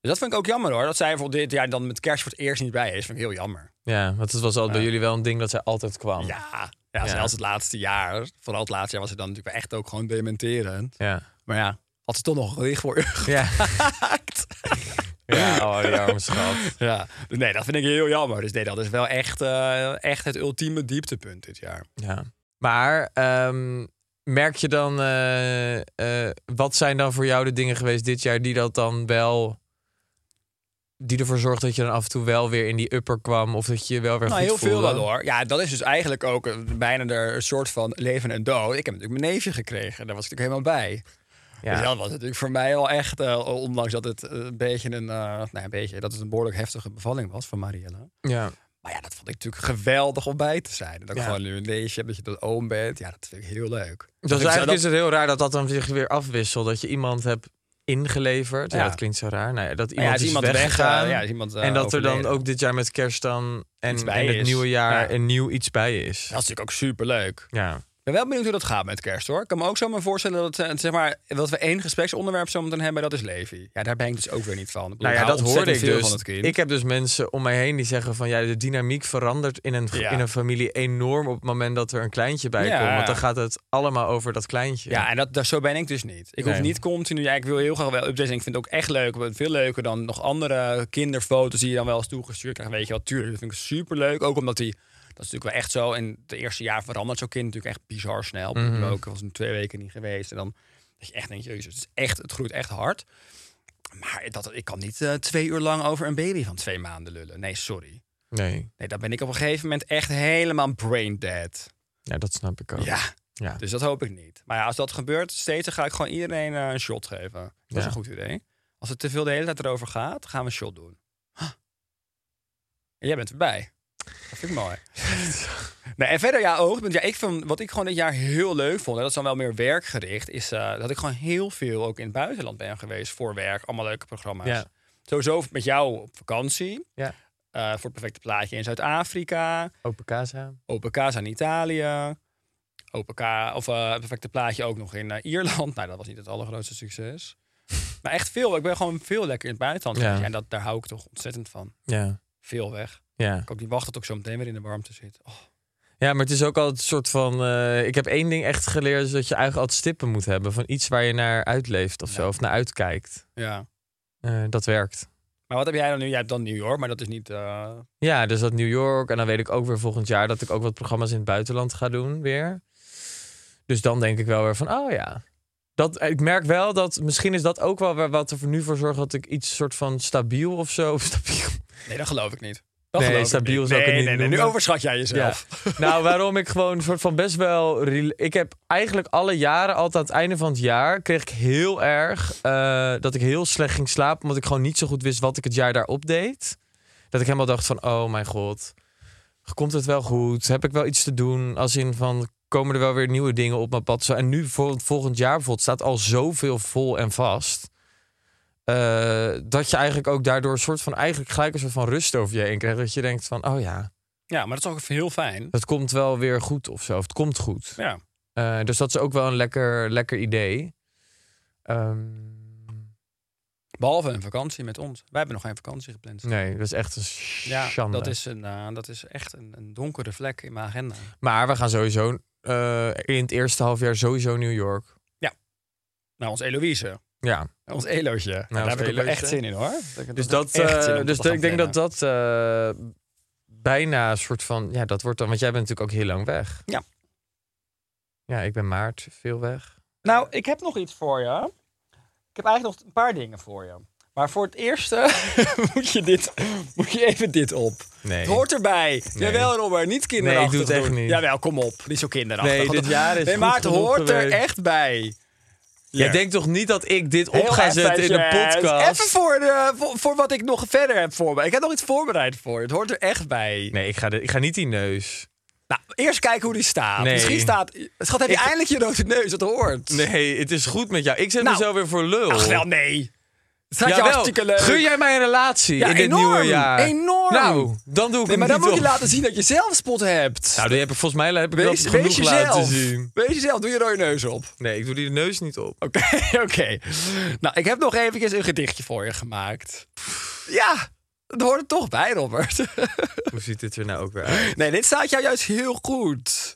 S3: Dus dat vind ik ook jammer hoor. Dat zij bijvoorbeeld dit jaar dan met kerst voor het eerst niet bij is. Vind ik heel jammer.
S2: ja, want het was al bij
S3: Ja.
S2: jullie wel een ding dat zij altijd kwam.
S3: Ja, ja,
S2: Ja.
S3: zelfs het laatste jaar. Vooral het laatste jaar was ze dan natuurlijk echt ook gewoon dementerend.
S2: Ja.
S3: Maar ja, had ze toch nog een gedicht voor u
S2: Ja.
S3: gemaakt.
S2: ja, oh, die arme schat.
S3: Ja, nee, dat vind ik heel jammer. Dus nee, dat is wel echt, eh, echt het ultieme dieptepunt dit jaar.
S2: Ja. Maar ehm, merk je dan, eh, eh, wat zijn dan voor jou de dingen geweest dit jaar die dat dan wel, die ervoor zorgt dat je dan af en toe wel weer in die upper kwam of dat je je wel weer
S3: Nou,
S2: goed
S3: heel veel
S2: voelde?
S3: wel hoor. Ja, dat is dus eigenlijk ook een- bijna de een soort van leven en dood. Ik heb natuurlijk mijn neefje gekregen. Daar was ik natuurlijk helemaal bij. Dus
S2: Ja.
S3: dat was natuurlijk voor mij al echt, eh, ondanks dat het eh, een beetje een, eh, nou, een beetje, dat het een behoorlijk heftige bevalling was van Marielle.
S2: ja.
S3: Maar ja, dat vond ik natuurlijk geweldig om bij te zijn. Dat ik
S2: Ja.
S3: gewoon nu een neefje heb, dat je dat oom bent. Ja, dat vind ik heel leuk.
S2: Dus
S3: ik zou
S2: eigenlijk
S3: dat-
S2: is het heel raar dat dat dan zich weer afwisselt. Dat je iemand hebt ingeleverd. Ja,
S3: Ja.
S2: dat klinkt zo raar. Nou ja, dat
S3: Maar
S2: iemand
S3: ja,
S2: is,
S3: is iemand weg,
S2: weggegaan.
S3: eh, ja, is iemand, eh,
S2: en dat er dan
S3: overleden.
S2: ook dit jaar met kerst dan
S3: Iets
S2: en,
S3: bij
S2: en het
S3: is.
S2: nieuwe jaar
S3: Ja.
S2: een nieuw iets bij is.
S3: Dat is natuurlijk ook superleuk.
S2: Ja.
S3: Ik ben wel benieuwd hoe dat gaat met kerst hoor. Ik kan me ook zomaar voorstellen dat, eh, zeg maar, dat we één gespreksonderwerp zometeen hebben, dat is Levi. Ja, daar ben ik dus ook weer niet van. Ik bedoel,
S2: Nou ja,
S3: ik hou
S2: dat hoorde
S3: ontzettend
S2: ik
S3: veel
S2: dus.
S3: Van het kind.
S2: Ik heb dus mensen om mij heen die zeggen van ja, de dynamiek verandert in een,
S3: Ja.
S2: in een familie enorm op het moment dat er een kleintje bij
S3: Ja.
S2: komt. Want dan gaat het allemaal over dat kleintje.
S3: Ja, en dat, dat, zo ben ik dus niet. Ik
S2: Nee.
S3: hoef niet continu. Ja, ik wil heel graag wel updates. En ik vind het ook echt leuk. Veel leuker dan nog andere kinderfoto's die je dan wel eens toegestuurd krijgt. Weet je wel, tuurlijk. Dat vind ik superleuk. Ook omdat die. Dat is natuurlijk wel echt zo. In het eerste jaar verandert zo'n kind natuurlijk echt bizar snel.
S2: Mhm.
S3: Ik ook, was nu twee weken niet geweest. En dan dat je echt denkt, jezus, het, is echt, het groeit echt hard. Maar dat, ik kan niet eh, twee uur lang over een baby van twee maanden lullen. Nee, sorry.
S2: Nee,
S3: Nee, dan ben ik op een gegeven moment echt helemaal brain dead.
S2: ja, dat snap ik ook.
S3: Ja.
S2: Ja.
S3: Dus dat hoop ik niet. Maar ja, als dat gebeurt, steeds dan ga ik gewoon iedereen eh, een shot geven. Dat is
S2: Ja.
S3: een goed idee. Als het te veel de hele tijd erover gaat, gaan we een shot doen. Huh. En jij bent erbij. Dat vind ik mooi. nee, en verder, ja, oogpunt. Ja, ik vind, wat ik gewoon dit jaar heel leuk vond, en dat is dan wel meer werkgericht, is eh, dat ik gewoon heel veel ook in het buitenland ben geweest voor werk. Allemaal leuke programma's.
S2: Ja.
S3: Sowieso met jou op vakantie.
S2: Ja.
S3: eh, voor het perfecte plaatje in Zuid-Afrika.
S2: Open casa.
S3: Open Casa in Italië. Open K, of eh, het perfecte plaatje ook nog in eh, Ierland. Nou, dat was niet het allergrootste succes. maar echt veel. Ik ben gewoon veel lekker in het buitenland.
S2: Ja.
S3: geweest. Ja. En dat, daar hou ik toch ontzettend van.
S2: Ja.
S3: Veel weg.
S2: Ja.
S3: Ik ook niet wachten tot ik zo meteen weer in de warmte zit. Oh,
S2: ja, maar het is ook altijd een soort van. eh, ik heb één ding echt geleerd, is dat je eigenlijk altijd stippen moet hebben van iets waar je naar uitleeft of zo,
S3: Ja.
S2: of naar uitkijkt.
S3: ja.
S2: Eh, dat werkt.
S3: Maar wat heb jij dan nu? Jij hebt dan New York, maar dat is niet... eh,
S2: Ja, dus dat New York. En dan weet ik ook weer volgend jaar dat ik ook wat programma's in het buitenland ga doen weer. Dus dan denk ik wel weer van, oh ja. Dat, ik merk wel dat, misschien is dat ook wel weer wat er voor nu voor zorgt dat ik iets soort van stabiel of zo. of Stabiel.
S3: Nee, dat geloof ik niet. Dat
S2: Nee,
S3: geloof ik
S2: stabiel
S3: niet.
S2: zou ik het
S3: Nee,
S2: niet
S3: nee, nee, nu
S2: noemen.
S3: overschat jij jezelf.
S2: Nou, waarom ik gewoon soort van best wel. rela- Ik heb eigenlijk alle jaren, altijd aan het einde van het jaar, kreeg ik heel erg eh, dat ik heel slecht ging slapen. Omdat ik gewoon niet zo goed wist wat ik het jaar daarop deed. Dat ik helemaal dacht van, oh mijn god, komt het wel goed? Heb ik wel iets te doen? Als in van, komen er wel weer nieuwe dingen op mijn pad? Zo, En nu voor volgend jaar bijvoorbeeld staat al zoveel vol en vast. eh, dat je eigenlijk ook daardoor een soort van eigenlijk gelijk een soort van rust over je heen krijgt. Dat je denkt van, oh ja,
S3: Ja, maar dat is ook heel fijn.
S2: het komt wel weer goed of zo. Of het komt goed.
S3: Ja.
S2: Eh, dus dat is ook wel een lekker, lekker idee. Ehm,
S3: Behalve een vakantie met ons. Wij hebben nog geen vakantie gepland.
S2: nee, dat is echt een
S3: Ja,
S2: schande.
S3: dat is, een, eh, dat is echt een, een donkere vlek in mijn agenda.
S2: Maar we gaan sowieso eh, in het eerste half jaar sowieso New York.
S3: Nou, ons Eloïse.
S2: Ja,
S3: Ons Elootje. Nou,
S2: ons
S3: Daar heb ik ook wel
S2: Elootje.
S3: echt zin in hoor. Dat ik-
S2: Dus
S3: dat
S2: dat,
S3: ik echt zin
S2: eh,
S3: om
S2: dus
S3: te
S2: dat-
S3: gaan
S2: ik denk dat
S3: plannen.
S2: dat eh, bijna een soort van, ja, dat wordt dan, want jij bent natuurlijk ook heel lang weg.
S3: Ja.
S2: Ja, ik ben maart veel weg.
S3: Nou, ik heb nog iets voor je. Ik heb eigenlijk nog een paar dingen voor je. Maar voor het eerste moet je, dit, moet je even dit op.
S2: Nee.
S3: Het hoort erbij. Jawel, Robert, niet kinderachtig
S2: Nee, ik doe het echt
S3: doen.
S2: niet.
S3: Jawel, kom op. Niet zo kinderachtig.
S2: Nee, dit jaar is
S3: Nee,
S2: goed
S3: maar het
S2: genoeg
S3: hoort er
S2: geweest.
S3: echt bij.
S2: Jij
S3: Ja.
S2: denkt toch niet dat ik dit op
S3: Heel
S2: ga zetten in de
S3: eventjes.
S2: podcast?
S3: Even voor, de, voor, voor wat ik nog verder heb voorbereid. Ik heb nog iets voorbereid voor je. Het hoort er echt bij.
S2: Nee, ik ga, dit- ik ga niet die neus.
S3: Nou, eerst kijken hoe die staat.
S2: Nee.
S3: Misschien staat... Schat, heb je
S2: Ik-
S3: eindelijk je rode neus? Het hoort.
S2: Nee, het is goed met jou. Ik zet
S3: Nou,
S2: mezelf weer voor lul.
S3: Ach, wel nee. Het staat je
S2: Jawel,
S3: hartstikke leuk.
S2: Gun jij mij een relatie
S3: Ja,
S2: in dit
S3: enorm,
S2: nieuwe jaar?
S3: enorm.
S2: Nou, dan doe ik
S3: Nee,
S2: het
S3: maar dan
S2: niet
S3: moet je
S2: op.
S3: laten zien dat je zelfspot hebt.
S2: Nou, die heb ik, volgens mij heb ik
S3: wees,
S2: dat
S3: wees
S2: genoeg laten
S3: jezelf.
S2: zien.
S3: Wees jezelf. Doe je rode neus op.
S2: Nee, ik doe die neus niet op.
S3: Oké, oké. Nou, ik heb nog eventjes een gedichtje voor je gemaakt. Ja, dat hoort er toch bij, Robert.
S2: Hoe ziet dit er nou ook weer uit?
S3: Nee, dit staat jou juist heel goed.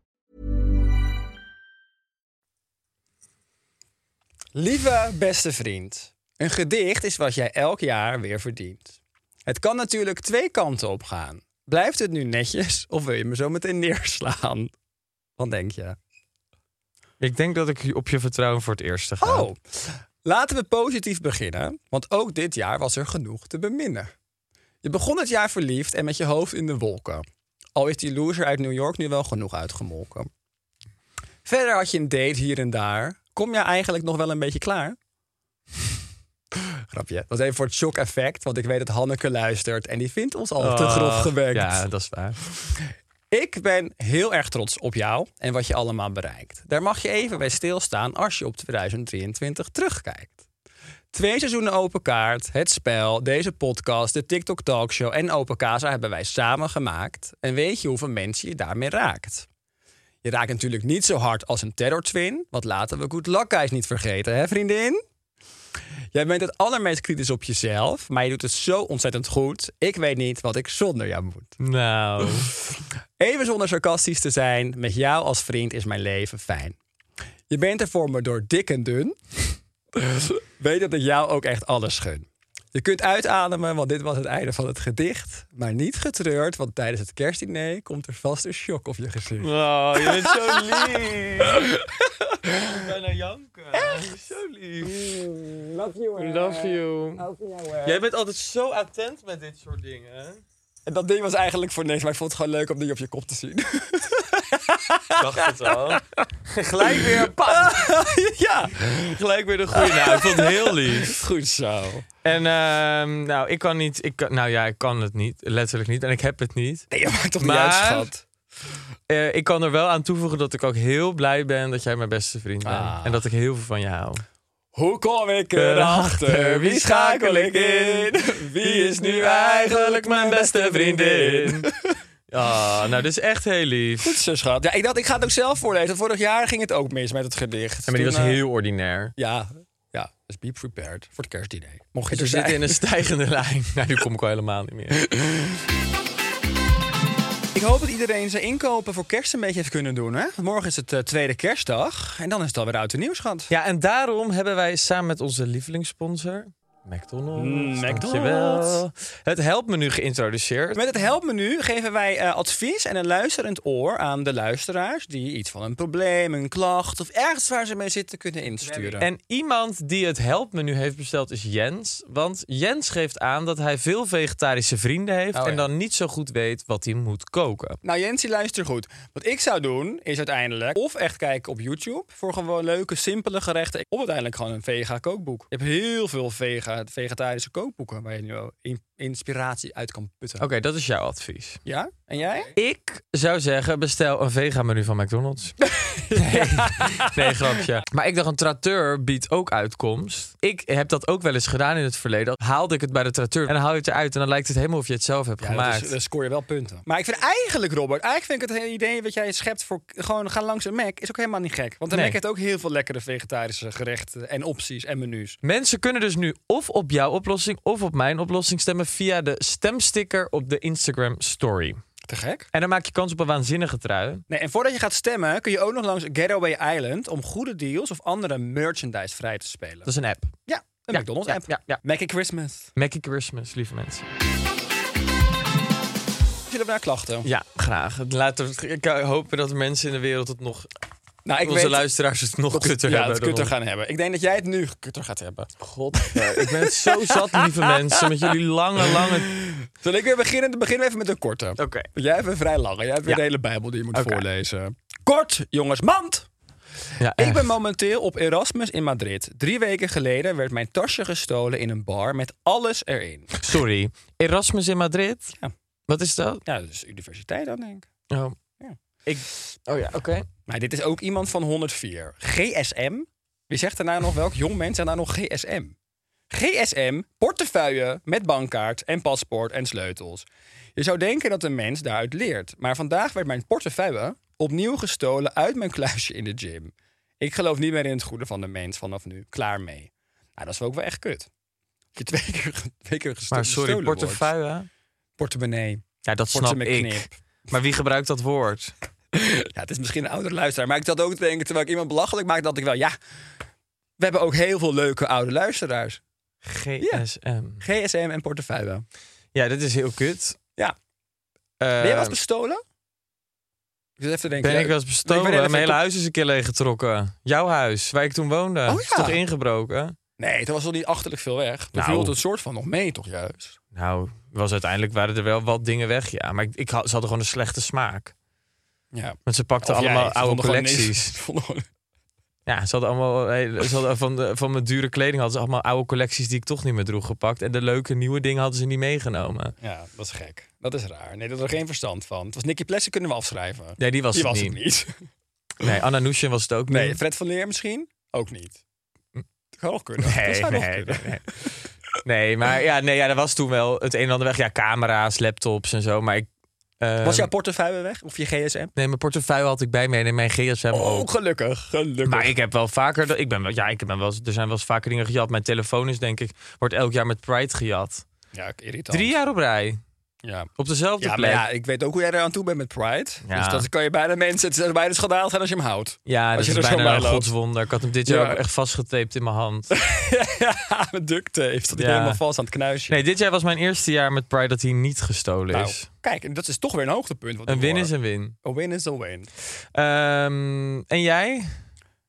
S3: Lieve beste vriend, een gedicht is wat jij elk jaar weer verdient. Het kan natuurlijk twee kanten op gaan. Blijft het nu netjes of wil je me zo meteen neerslaan? Wat denk je?
S2: Ik denk dat ik op je vertrouwen voor het eerste ga.
S3: Oh, laten we positief beginnen, want ook dit jaar was er genoeg te beminnen. Je begon het jaar verliefd en met je hoofd in de wolken. Al is die loser uit New York nu wel genoeg uitgemolken. Verder had je een date hier en daar. Kom je eigenlijk nog wel een beetje klaar? Grapje. Dat is even voor het shock-effect, want ik weet dat Hanneke luistert en die vindt ons al te grof gewekt.
S2: Ja, dat is waar.
S3: Ik ben heel erg trots op jou en wat je allemaal bereikt. Daar mag je even bij stilstaan als je op 2023 terugkijkt. Twee seizoenen Open Kaart, het spel, deze podcast, de TikTok Talkshow en Open Casa hebben wij samen gemaakt. En weet je hoeveel mensen je daarmee raakt? Je raakt natuurlijk niet zo hard als een Terror Twin, want laten we Good Luck Guys niet vergeten, hè vriendin? Jij bent het allermeest kritisch op jezelf, maar je doet het zo ontzettend goed. Ik weet niet wat ik zonder jou moet.
S2: Nou,
S3: Even zonder sarcastisch te zijn, met jou als vriend is mijn leven fijn. Je bent er voor me door dik en dun. Weet dat ik jou ook echt alles gun. Je kunt uitademen, want dit was het einde van het gedicht. Maar niet getreurd, want tijdens het kerstdiner komt er vast een shock op je gezicht.
S2: oh, je bent zo lief. ik ben naar janken. Echt? Zo lief.
S3: Love you.
S2: Love you. Jij bent altijd zo attent met dit soort dingen.
S3: En dat ding was eigenlijk voor niks, maar ik vond het gewoon leuk om die op je kop te zien.
S2: Dacht het al. Gelijk weer, pam,
S3: ja,
S2: gelijk weer de goede. Nou, ik vond het heel lief.
S3: goed zo.
S2: En ehm, nou, ik kan niet. Ik kan, nou ja, ik kan het niet. Letterlijk niet. En ik heb het niet.
S3: Nee, je maakt toch
S2: Maar-
S3: niet uit, schat?
S2: Eh, ik kan er wel aan toevoegen dat ik ook heel blij ben dat jij mijn beste vriend bent.
S3: Ah.
S2: En dat ik heel veel van je hou. Eh,
S3: Hoe kom ik erachter? Wie schakel ik in? Wie is nu eigenlijk mijn beste vriendin?
S2: Ah, nou, dit is echt heel lief.
S3: Goed zo, schat. Ja, ik dacht, ik ga het ook zelf voorlezen. Vorig jaar ging het ook mis met het gedicht.
S2: Ja, maar die was
S3: Toen, eh,
S2: heel ordinair.
S3: Ja, ja. Dus be prepared voor het kerstdiner. Mocht je
S2: Dus
S3: er
S2: we zitten in
S3: zijn.
S2: een stijgende lijn. Nou, nu kom ik al helemaal niet meer.
S3: Ik hoop dat iedereen zijn inkopen voor kerst een beetje heeft kunnen doen. Hè? Want Morgen is het eh, tweede kerstdag. En dan is het alweer uit de nieuws, schat.
S2: Ja, en daarom hebben wij samen met onze lievelingssponsor... McDonald's.
S3: Mm,
S2: dankjewel.
S3: McDonald's.
S2: Het helpmenu geïntroduceerd.
S3: Met het helpmenu geven wij eh, advies en een luisterend oor aan de luisteraars... die iets van een probleem, een klacht of ergens waar ze mee zitten kunnen insturen.
S2: En iemand die het helpmenu heeft besteld is Jens. Want Jens geeft aan dat hij veel vegetarische vrienden heeft...
S3: Oh,
S2: en
S3: ja.
S2: dan niet zo goed weet wat hij moet koken.
S3: Nou, Jensie, luister goed. Wat ik zou doen, is uiteindelijk of echt kijken op YouTube voor gewoon leuke, simpele gerechten. Of uiteindelijk gewoon een vega kookboek. Je hebt heel veel vega, vegetarische kookboeken waar je nu wel in- inspiratie uit kan putten.
S2: Oké, dat is jouw advies.
S3: Ja? En jij?
S2: Ik zou zeggen, bestel een vega-menu van McDonald's. nee, nee, grapje. Maar ik dacht, een tracteur biedt ook uitkomst. Ik heb dat ook wel eens gedaan in het verleden. Haalde ik het bij de tracteur en dan haal je het eruit... en dan lijkt het helemaal of je het zelf hebt
S3: dat
S2: gemaakt.
S3: is- dan dus scoor je wel punten. Maar ik vind eigenlijk, Robert, eigenlijk vind ik het hele idee wat jij schept voor k- gewoon gaan langs een Mac, is ook helemaal niet gek. Want een
S2: Nee.
S3: Mac heeft ook heel veel lekkere vegetarische gerechten en opties en menus.
S2: Mensen kunnen dus nu of op jouw oplossing of op mijn oplossing stemmen via de stemsticker op de Instagram story.
S3: Te gek.
S2: En dan maak je kans op een waanzinnige trui.
S3: Nee, en voordat je gaat stemmen, kun je ook nog langs Getaway Island om goede deals of andere merchandise vrij te spelen.
S2: Dat is een app.
S3: Ja, een
S2: Ja,
S3: McDonald's app.
S2: ja, ja, ja.
S3: Mac and Christmas.
S2: Merry Christmas, lieve mensen.
S3: Zullen we naar klachten?
S2: Ja, graag. Laten we, ik hoop dat mensen in de wereld het nog,
S3: Nou,
S2: onze luisteraars het nog
S3: dat-
S2: kutter
S3: ja,
S2: hebben.
S3: dat kutter gaan hebben. Ik denk dat jij het nu kutter gaat hebben.
S2: God, ik ben het zo zat, lieve mensen, met jullie lange, lange...
S3: Zal ik weer beginnen? Dan beginnen we even met een korte.
S2: Oké.
S3: Jij hebt een vrij lange. Jij hebt weer
S2: Ja.
S3: de hele Bijbel die je moet
S2: Oké.
S3: voorlezen. Kort, jongens, mand!
S2: Ja,
S3: Ik ben momenteel op Erasmus in Madrid. Drie weken geleden werd mijn tasje gestolen in een bar met alles erin.
S2: Sorry. Erasmus in Madrid?
S3: Ja.
S2: Wat is dat?
S3: Ja, dat is universiteit dan, denk ik.
S2: Oh.
S3: Ja.
S2: Ik... Oh ja, oké.
S3: Maar dit is ook iemand van 104. GSM? Wie zegt daarna nog welk jong mens daarna nog GSM? GSM, portefeuille met bankkaart en paspoort en sleutels. Je zou denken dat een mens daaruit leert. Maar vandaag werd mijn portefeuille opnieuw gestolen uit mijn kluisje in de gym. Ik geloof niet meer in het goede van de mens vanaf nu. Klaar mee. Nou, dat is ook wel echt kut. Dat Je twee keer, ge- twee keer gesto-
S2: Maar sorry,
S3: gestolen wordt.
S2: portefeuille?
S3: Portemonnee.
S2: Ja, dat snap
S3: Portemonnee
S2: ik.
S3: knip.
S2: Maar wie gebruikt dat woord?
S3: Ja, het is misschien een oudere luisteraar. Maar ik zat ook te denken, terwijl ik iemand belachelijk maak, dat ik wel, ja, we hebben ook heel veel leuke oude luisteraars.
S2: GSM.
S3: GSM en portefeuille.
S2: Ja, dit is heel kut.
S3: Ja.
S2: Eh,
S3: ben jij wel eens bestolen? Ik zit even te denken.
S2: ben
S3: ja,
S2: ik wel eens
S3: ik
S2: bestolen?
S3: Ehm. ben even
S2: Mijn hele
S3: kop-
S2: huis is een keer leeggetrokken. Jouw huis, waar ik toen woonde.
S3: Oh
S2: Is
S3: ja.
S2: toch ingebroken?
S3: Nee, er was al niet achterlijk veel weg. Er
S2: Nou.
S3: viel het soort van nog mee, toch juist?
S2: Nou, was uiteindelijk waren er wel wat dingen weg, ja. Maar ik, ik had, ze hadden gewoon een slechte smaak.
S3: Ja.
S2: Want ze pakten
S3: Of jij,
S2: allemaal
S3: ze
S2: oude
S3: vonden gewoon
S2: collecties.
S3: niks. Ze vonden gewoon-
S2: Ja, ze hadden allemaal hele- ze hadden van, de, van mijn dure kleding hadden ze allemaal oude collecties die ik toch niet meer droeg gepakt. En de leuke nieuwe dingen hadden ze niet meegenomen.
S3: Ja, dat is gek. Dat is raar. Nee, dat had er geen verstand van. Het was Nicky Plessen, kunnen we afschrijven.
S2: Nee, die was
S3: Die
S2: het
S3: was
S2: niet.
S3: het niet.
S2: Nee, Anna Nushin was het ook niet.
S3: Nee, Mm. Fred van Leer misschien? Ook niet. Dat kan nog kunnen.
S2: Nee,
S3: dat zou nog
S2: nee,
S3: kunnen.
S2: nee, Nee, maar ja, nee, ja, er was toen wel het een en ander weg. Ja, camera's, laptops en zo. Maar ik. eh,
S3: Was jouw portefeuille weg? Of je GSM?
S2: Nee, mijn portefeuille had ik bij me en in mijn gsm
S3: Oh,
S2: ook.
S3: gelukkig, gelukkig.
S2: Maar ik heb wel vaker. dat- Ik ben, wel- ja, ik ben wel, eens- er zijn wel eens vaker dingen gejat. Mijn telefoon is, denk ik, wordt elk jaar met Pride gejat.
S3: Ja, ik- irritant.
S2: Drie jaar op rij.
S3: Ja.
S2: Op dezelfde
S3: Ja, maar
S2: plek.
S3: ja, ik weet ook hoe jij eraan toe bent met Pride.
S2: Ja.
S3: Dus dat kan je bijna mensen, het is bijna schandaal zijn als je hem houdt.
S2: Ja, dat
S3: Als je
S2: is
S3: er zo
S2: bijna
S3: bij
S2: een
S3: loopt.
S2: godswonder. Ik had hem dit jaar
S3: Ja.
S2: ook echt vastgetaped in mijn hand.
S3: ja, met duct tape. Dat hij
S2: Ja.
S3: helemaal vast aan het knuisje.
S2: Nee, dit jaar was mijn eerste jaar met Pride dat hij niet gestolen
S3: Nou,
S2: is.
S3: kijk, en dat is toch weer een hoogtepunt. Wat
S2: Een
S3: we
S2: win
S3: horen.
S2: is een win.
S3: Een win is een win.
S2: Ehm, en jij?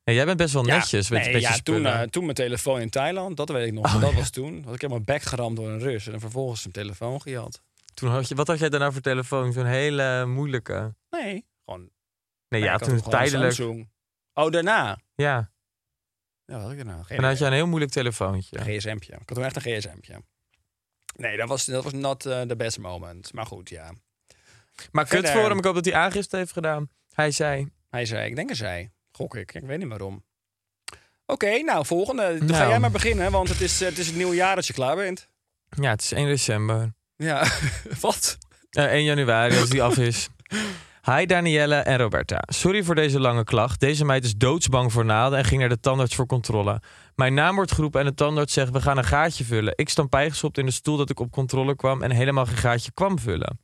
S2: Ja, jij bent best wel
S3: Ja,
S2: netjes met,
S3: nee,
S2: met
S3: ja,
S2: je
S3: toen,
S2: spullen. Oh,
S3: eh, toen mijn telefoon in Thailand, dat weet ik nog. dat was toen. Had ik helemaal bek geramd door een Rus en vervolgens zijn telefoon gejat.
S2: Toen had je, wat had jij daarna voor telefoon? Zo'n hele moeilijke.
S3: Nee, gewoon.
S2: Nee,
S3: ik
S2: ja,
S3: had
S2: toen
S3: gewoon een
S2: tijdelijk.
S3: Samsung. Oh, daarna.
S2: Ja,
S3: Ja, wat had ik daarna? Geen
S2: en dan had
S3: idee.
S2: je een heel moeilijk telefoontje.
S3: Een GSM'tje. Ik had toen echt een GSM'tje. Nee, dat was, dat was not eh, the best moment. Maar goed, ja.
S2: Maar kut
S3: Verder.
S2: voor hem, ik hoop dat hij aangifte heeft gedaan. Hij zei,
S3: Hij zei, ik denk er zij. Gok ik. Ik weet niet waarom. Oké, nou, volgende. Dan ga
S2: Nou.
S3: jij maar beginnen, want het is, eh, het is het nieuwe jaar dat je klaar bent.
S2: ja, het is 1 december.
S3: Ja, wat?
S2: Eh, 1 januari, als die af is. Hi Danielle en Roberta. Sorry voor deze lange klacht. Deze meid is doodsbang voor naalden en ging naar de tandarts voor controle. Mijn naam wordt geroepen en de tandarts zegt: We gaan een gaatje vullen. Ik stampijgestopt in de stoel dat ik op controle kwam en helemaal geen gaatje kwam vullen.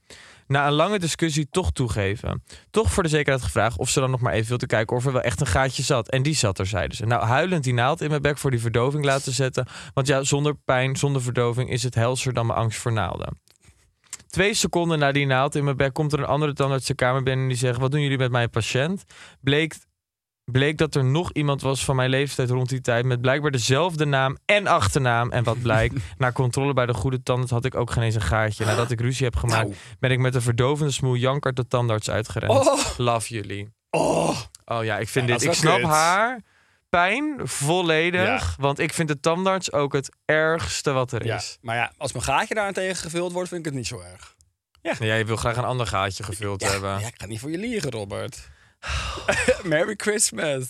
S2: na een lange discussie toch toegeven. Toch voor de zekerheid gevraagd of ze dan nog maar even wilde kijken of er wel echt een gaatje zat. En die zat er, zeiden ze. Nou, huilend die naald in mijn bek voor die verdoving laten zetten. Want ja, zonder pijn, zonder verdoving is het helser dan mijn angst voor naalden. Twee seconden na die naald in mijn bek komt er een andere tandarts de kamer binnen en die zegt: Wat doen jullie met mijn patiënt? Bleek, bleek dat er nog iemand was van mijn leeftijd rond die tijd met blijkbaar dezelfde naam en achternaam. En wat blijkt, na controle bij de goede tandarts had ik ook geen eens een gaatje. Nadat ik ruzie heb gemaakt,
S3: Nou.
S2: ben ik met een verdovende smoel jankert de tandarts uitgerend.
S3: Oh.
S2: Love jullie.
S3: Oh,
S2: Oh ja, ik vind
S3: Ja,
S2: dit.
S3: dat
S2: Ik
S3: is wel
S2: snap
S3: kut.
S2: haar pijn volledig.
S3: Ja.
S2: Want ik vind de tandarts ook het ergste wat er
S3: ja.
S2: is.
S3: Maar ja, als mijn gaatje daarentegen gevuld wordt, vind ik het niet zo erg.
S2: Jij wil graag een ander gaatje gevuld
S3: Ja,
S2: hebben.
S3: ja, ik ga niet voor je liegen, Robert. Merry Christmas.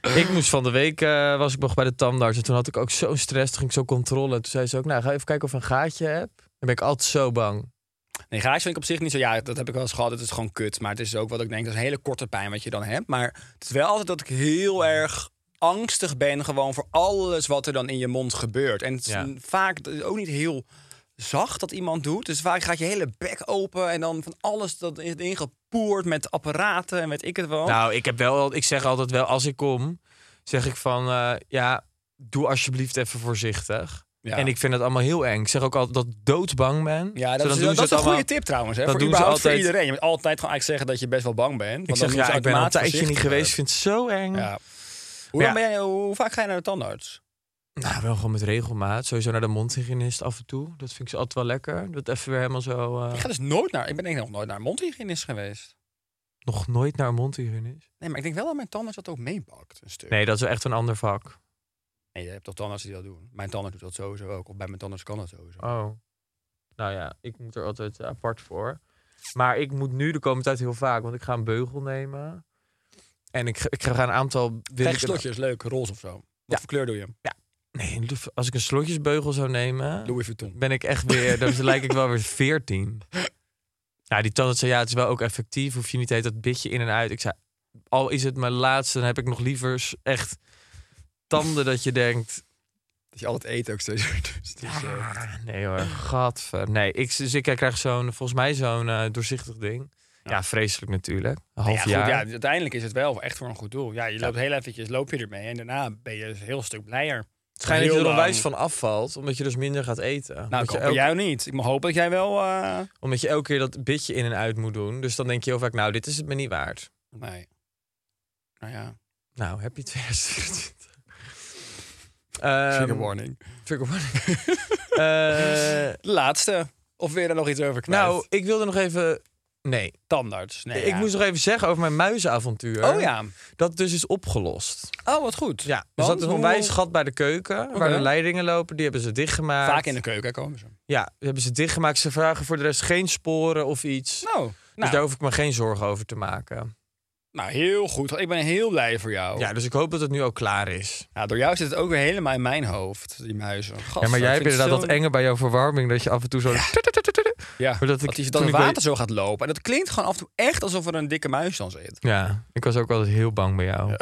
S2: Ik moest van de week, eh, was ik nog bij de tandarts. En toen had ik ook zo'n stress. Toen ging ik zo controle. Toen zei ze ook, nou ga even kijken of je een gaatje hebt. Dan ben ik altijd zo bang.
S3: Nee, gaatjes vind ik op zich niet zo... Ja, dat heb ik wel eens gehad. Het is gewoon kut. Maar het is ook wat ik denk, dat is een hele korte pijn wat je dan hebt. Maar het is wel altijd dat ik heel erg angstig ben gewoon voor alles wat er dan in je mond gebeurt. En het is
S2: Ja.
S3: een- vaak het is ook niet heel zacht dat iemand doet. Dus vaak gaat je hele bek open en dan van alles dat is ingepoerd met apparaten en weet ik het wel.
S2: Nou, ik, heb wel, ik zeg altijd wel, als ik kom, zeg ik van, eh, ja, doe alsjeblieft even voorzichtig.
S3: Ja.
S2: En ik vind het allemaal heel eng. Ik zeg ook altijd dat ik doodsbang ben.
S3: Ja,
S2: Zo,
S3: dat,
S2: dan
S3: is,
S2: doen
S3: dat
S2: ze
S3: is
S2: het
S3: een
S2: allemaal-
S3: goede tip trouwens. Hè?
S2: dat
S3: voor
S2: doen ze
S3: überhaupt voor
S2: altijd.
S3: iedereen. Je moet altijd gewoon eigenlijk zeggen dat je best wel bang bent. want
S2: Ik
S3: dan
S2: zeg,
S3: doen ze
S2: ja, ik ben al een
S3: automatisch
S2: tijdje niet geweest. Ik
S3: voorzichtiger.
S2: vind het zo eng.
S3: Ja. Hoe, lang
S2: Ja.
S3: ben jij, hoe vaak ga je naar de tandarts?
S2: Nou, wel gewoon met regelmaat. Sowieso naar de mondhygiënist af en toe. Dat vind ik ze altijd wel lekker. Dat even weer helemaal zo... eh,
S3: Ik ga dus nooit naar... Ik ben denk ik nog nooit naar een mondhygiënist geweest.
S2: Nog nooit naar een mondhygiënist.
S3: Nee, maar ik denk wel dat mijn tandarts dat ook meepakt. Een stuk.
S2: Nee, dat is wel echt een ander vak.
S3: En je hebt toch tandartsen die dat doen. Mijn tandarts doet dat sowieso ook. Of bij mijn tandarts kan dat sowieso.
S2: Oh. Nou ja, ik moet er altijd eh, apart voor. Maar ik moet nu de komende tijd heel vaak, want ik ga een beugel nemen. En ik, ga- ik ga een aantal... wil
S3: Krijg
S2: ik
S3: je
S2: een-
S3: slotjes, leuk, roze of zo. Wat
S2: Ja.
S3: voor kleur doe je hem?
S2: Nee, als ik een slotjesbeugel zou nemen...
S3: Louis Vuitton.
S2: ben ik echt weer, dan lijk ik wel weer 14. Ja, die tandarts zei, ja, het is wel ook effectief. Hoef je niet heet dat bitje in en uit. Ik zei, al is het mijn laatste, dan heb ik nog liever s- echt tanden dat je denkt...
S3: Dat je altijd eet ook steeds weer. Dus, het is, eh,
S2: ah, nee hoor, gadver. Nee, ik, dus ik krijg zo'n, volgens mij zo'n eh, doorzichtig ding. Ja. vreselijk natuurlijk. Een
S3: Nou
S2: half
S3: ja, goed,
S2: jaar.
S3: ja, dus uiteindelijk is het wel echt voor een goed doel. Ja, je loopt heel eventjes, loop je ermee en daarna ben je dus een heel stuk blijer.
S2: Het schijnt dat je
S3: Heel
S2: er onwijs
S3: lang.
S2: van afvalt, omdat je dus minder gaat eten.
S3: Nou,
S2: omdat,
S3: ik
S2: je
S3: hoop
S2: elke,
S3: jou niet. Ik mag hopen dat jij wel... eh,
S2: omdat je elke keer dat bitje in en uit moet doen. Dus dan denk je heel vaak, nou, dit is het me niet waard.
S3: Nee. Nou ja,
S2: Nou, happy 2024. Ehm,
S3: warning.
S2: trigger warning. Eh,
S3: Laatste. Of weer er nog iets over kwijt?
S2: nou, ik wilde nog even... Nee,
S3: tandarts. Nee,
S2: ik
S3: ja.
S2: moest nog even zeggen over mijn muizenavontuur.
S3: Oh ja.
S2: Dat dus is opgelost.
S3: Oh, wat goed.
S2: Ja, dus
S3: Want
S2: dat is een
S3: hoe-
S2: onwijs gat bij de keuken, waar
S3: Oké.
S2: de leidingen lopen. Die hebben ze dichtgemaakt.
S3: Vaak in de keuken komen ze.
S2: Ja, die hebben ze dichtgemaakt. Ze vragen voor de rest geen sporen of iets.
S3: Nou, nou,
S2: Dus daar hoef ik me geen zorgen over te maken.
S3: nou, heel goed. Ik ben heel blij voor jou.
S2: Ja, dus ik hoop dat het nu ook klaar is.
S3: Ja, door jou zit het ook weer helemaal in mijn hoofd, die muizen. Gast,
S2: ja, maar jij
S3: ik
S2: hebt
S3: vind
S2: inderdaad
S3: het
S2: dat
S3: zo-
S2: enge bij jouw verwarming. Dat je af en toe zo...
S3: Ja,
S2: Maar
S3: dat,
S2: dat
S3: ik, dat,
S2: ik- toen
S3: het
S2: ik bij-
S3: water zo gaat lopen. En dat klinkt gewoon af en toe echt alsof er een dikke muis dan zit.
S2: Ja, ik was ook altijd heel bang bij jou.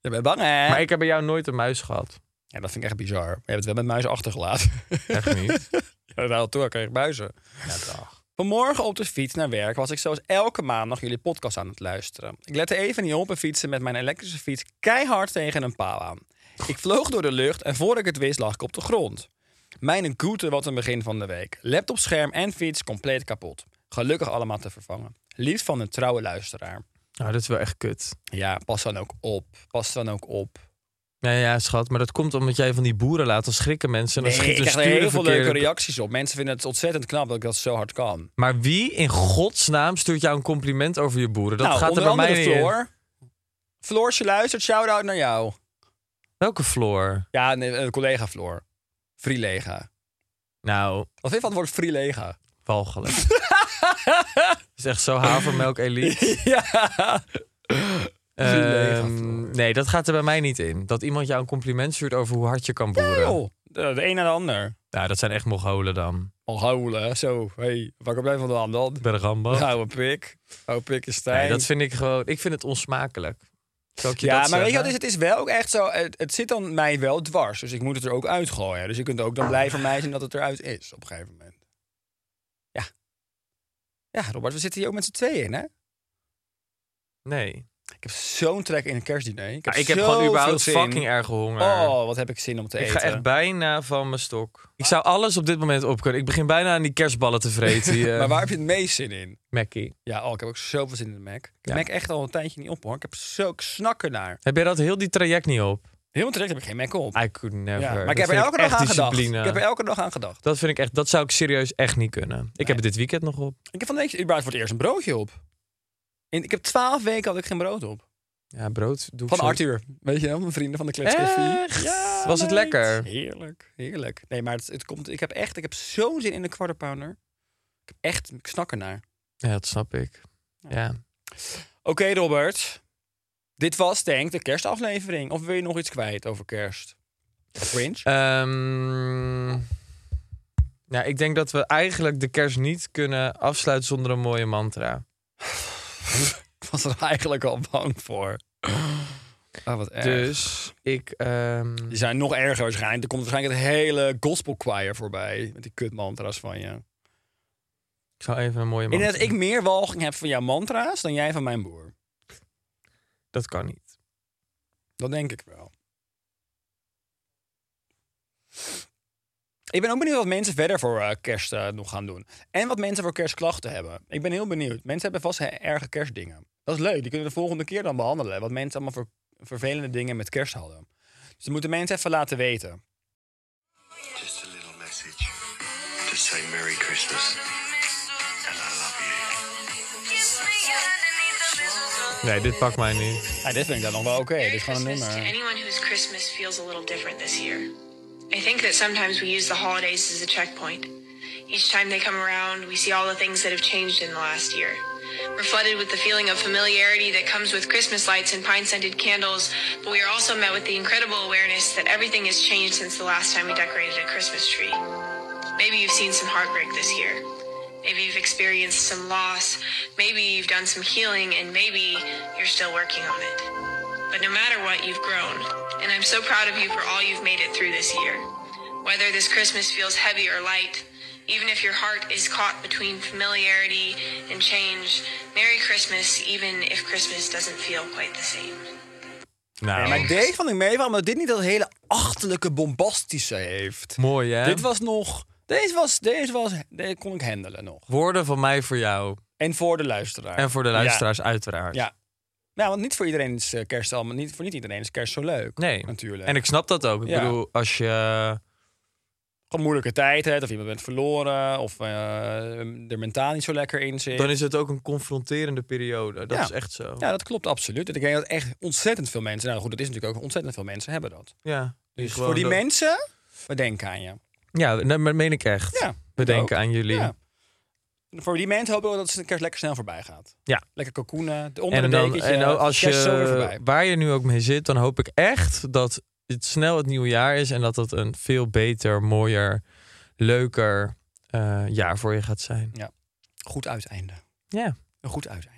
S3: Je bent bang, hè?
S2: Maar ik heb bij jou nooit een muis gehad.
S3: Ja, dat vind ik echt bizar. Maar je hebt het wel met muizen achtergelaten.
S2: Echt niet.
S3: Ja, daar toen kreeg ik buizen.
S2: Ja, dag.
S3: Vanmorgen op de fiets naar werk was ik zoals elke maandag jullie podcast aan het luisteren. Ik lette even niet op en fietste met mijn elektrische fiets keihard tegen een paal aan. Ik vloog door de lucht en voor ik het wist lag ik op de grond. Mijn goede wat een begin van de week. Laptop, scherm en fiets compleet kapot. Gelukkig allemaal te vervangen. Liefst van een trouwe luisteraar.
S2: Nou, dat is wel echt kut.
S3: Ja, pas dan ook op. Pas dan ook op.
S2: Nee, ja, schat, maar dat komt omdat jij van die boeren laat. Dan schrikken mensen en
S3: Nee,
S2: dan
S3: ik
S2: schiet de
S3: krijg er
S2: stuur de
S3: heel veel leuke
S2: verkeerde...
S3: reacties op. Mensen vinden het ontzettend knap dat ik dat zo hard kan.
S2: Maar wie in godsnaam stuurt jou een compliment over je boeren? Dat gaat er bij mij niet in.
S3: Nou, Floor. Floor, als je luistert, shout-out naar jou.
S2: Welke Floor?
S3: Ja, nee, een collega Floor. Freelega.
S2: Nou,
S3: Wat vind je van het woord Freelega?
S2: walgelijk. dat is echt zo havermelk elite.
S3: ja. Freelega,
S2: Ehm,
S3: Floor.
S2: nee, dat gaat er bij mij niet in. Dat iemand jou een compliment stuurt over hoe hard je kan boeren.
S3: Joh, de, de een naar de ander.
S2: nou, dat zijn echt Mongolen dan.
S3: Al huilen, zo. Hey, waar kom jij vandaan dan?
S2: Bergambo.
S3: Oude pik. Oude pik is
S2: Nee,
S3: tijd.
S2: dat vind ik gewoon... Ik vind het onsmakelijk. Zal ik je
S3: ja,
S2: dat
S3: maar weet je wat,
S2: zeggen?
S3: is? het is wel ook echt zo. Het, het zit dan mij wel dwars, dus ik
S2: Ah.
S3: moet het er ook uitgooien. Dus je kunt ook dan blijven mij zien dat het eruit is op een gegeven moment. Ja, Ja, Robert, we zitten hier ook met z'n tweeën in, hè?
S2: Nee.
S3: Ik heb zo'n trek in een kerstdiner. Ah, Ik heb,
S2: Ja, ik heb
S3: zoveel
S2: gewoon überhaupt
S3: zin.
S2: fucking erg honger.
S3: Oh, wat heb ik zin om te
S2: ik
S3: eten.
S2: ga echt bijna van mijn stok. Ik zou alles op dit moment op kunnen. Ik begin bijna aan die kerstballen te vreten. Die, eh,
S3: Maar waar heb je het meest zin in?
S2: Mackie.
S3: Ja, oh, ik heb ook zoveel zin in de Mac. Ik
S2: Ja.
S3: Mac echt al een tijdje niet op, hoor. Ik heb zo ik snak ernaar.
S2: Heb jij dat heel die traject niet op?
S3: Helemaal terecht heb ik geen Mac op.
S2: I could never.
S3: Ja, maar
S2: Ah, Dat
S3: ik heb er
S2: vind
S3: elke dag
S2: echt
S3: aan gedacht. Ik
S2: discipline.
S3: heb er elke dag aan gedacht.
S2: Dat vind ik echt, dat zou ik serieus echt niet kunnen. Ik heb het dit weekend nog op.
S3: Ik heb van deze überhaupt voor het eerst een broodje op. En ik heb twaalf weken had ik geen brood op.
S2: Ja, brood doe ik
S3: Van
S2: zo-
S3: Arthur. Weet je wel, mijn vrienden van de kletscafé.
S2: Echt? Was
S3: meid.
S2: het lekker?
S3: Heerlijk, heerlijk. Nee, maar het, het komt, ik heb echt, ik heb zo'n zin in de quarter pounder. Ik heb echt, ik snak ernaar.
S2: Ja, dat snap ik. Ja.
S3: Oké, Robert. Dit was, denk ik, de kerstaflevering. Of wil je nog iets kwijt over kerst? Of Grinch?
S2: Eh. Ehm, ja, ik denk dat we eigenlijk de kerst niet kunnen afsluiten zonder een mooie mantra.
S3: Ik was er eigenlijk al bang voor. Ah, wat erg.
S2: Dus ik... ehm,
S3: Die zijn nog erger waarschijnlijk. Er komt waarschijnlijk het hele gospel choir voorbij. Met die kutmantra's van je.
S2: ik zou even een mooie
S3: Ik denk
S2: mantra...
S3: dat ik meer walging heb van jouw mantra's dan jij van mijn broer.
S2: Dat kan niet.
S3: Dat denk ik wel. Ik ben ook benieuwd wat mensen verder voor eh, kerst eh, nog gaan doen. En wat mensen voor kerstklachten hebben. Ik ben heel benieuwd. Mensen hebben vast he- erge kerstdingen. Dat is leuk. Die kunnen we de volgende keer dan behandelen. Wat mensen allemaal voor vervelende dingen met kerst hadden. Dus dat moeten mensen even laten weten.
S4: Just a little message to say Merry Christmas and I love you.
S2: Nee, dit pakt mij niet.
S3: Ja, dit vind ik dan nog wel oké. Dit is gewoon een
S5: Christmas to
S3: nummer.
S5: anyone whose Christmas feels a little different this year. I think that sometimes we use the holidays as a checkpoint. Each time they come around, we see all the things that have changed in the last year. We're flooded with the feeling of familiarity that comes with Christmas lights and pine scented candles, but we are also met with the incredible awareness that everything has changed since the last time we decorated a Christmas tree. Maybe you've seen some heartbreak this year. Maybe you've experienced some loss. Maybe you've done some healing, and maybe you're still working on it. But no matter what, you've grown. And I'm so proud of you for all you've made it through this year. Whether this Christmas feels heavy or light, even if your heart is caught between familiarity and change, Merry Christmas, even if Christmas doesn't feel quite the same.
S2: Nou,
S3: Maar deze vond ik mee, omdat dit niet dat hele achterlijke bombastische heeft.
S2: mooi hè?
S3: Dit was nog... Deze was... Deze was... Deze kon ik handelen nog.
S2: Woorden van mij voor jou.
S3: En voor de luisteraar.
S2: En voor de luisteraars uiteraard.
S3: Ja. Ja, want niet voor iedereen is eh, kerst allemaal, niet voor niet iedereen is kerst zo leuk.
S2: Nee.
S3: natuurlijk.
S2: En ik snap dat ook. Ik
S3: Ja.
S2: bedoel, als je...
S3: gewoon moeilijke tijd hebt, of iemand bent verloren, of eh, er mentaal niet zo lekker in zit.
S2: Dan is het ook een confronterende periode. Dat
S3: Ja.
S2: is echt zo.
S3: Ja, dat klopt absoluut. En Ik denk dat echt ontzettend veel mensen, nou goed, dat is natuurlijk ook ontzettend veel mensen hebben dat.
S2: Ja.
S3: Dus
S2: Gewoon
S3: voor die
S2: dat-
S3: mensen, we denken aan je.
S2: Ja, dat dat meen ik echt.
S3: Ja,
S2: We
S3: dat
S2: denken
S3: ook.
S2: aan jullie.
S3: Ja. Voor die mensen hopen we dat de kerst lekker snel voorbij gaat.
S2: Ja.
S3: Lekker cocoenen, de onder
S2: En,
S3: een
S2: dan,
S3: dekentje,
S2: en als
S3: kerst is zo weer
S2: je,
S3: voorbij.
S2: waar je nu ook mee zit, dan hoop ik echt dat het snel het nieuwe jaar is. En dat dat een veel beter, mooier, leuker eh, jaar voor je gaat zijn.
S3: Goed uiteinde.
S2: Ja.
S3: Een goed uiteinde.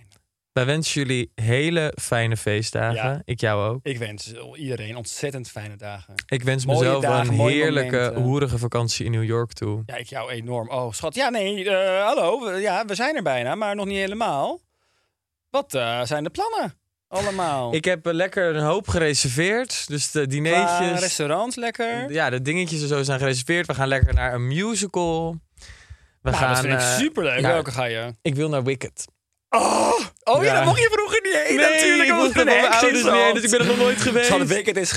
S2: Wij wensen jullie hele fijne feestdagen.
S3: Ja.
S2: Ik jou ook.
S3: Ik wens iedereen ontzettend fijne dagen.
S2: Ik wens
S3: Mooie
S2: mezelf
S3: dagen,
S2: een
S3: mooie
S2: heerlijke,
S3: momenten.
S2: hoerige vakantie in New York toe.
S3: Ja, ik jou enorm. Oh, schat. Ja, nee, eh, hallo. We- Ja, we zijn er bijna, maar nog niet helemaal. Wat eh, zijn de plannen? Allemaal.
S2: Ik heb eh, lekker een hoop gereserveerd. Dus de
S3: Qua
S2: dinertjes,
S3: restaurants lekker.
S2: Ja, de dingetjes en zo zijn gereserveerd. We gaan lekker naar een musical. We
S3: nou,
S2: gaan,
S3: dat vind ik
S2: eh,
S3: superleuk.
S2: nou,
S3: Welke ga je?
S2: ik wil naar Wicked.
S3: Oh, oh ja,
S2: Ja.
S3: dat mocht je vroeger niet heen. natuurlijk,
S2: ik
S3: omdat
S2: moest
S3: het
S2: naar mijn
S3: een heks
S2: ouders
S3: is,
S2: mee,
S3: want-
S2: dus ik ben er nog nooit geweest.
S3: Schat, Wicked is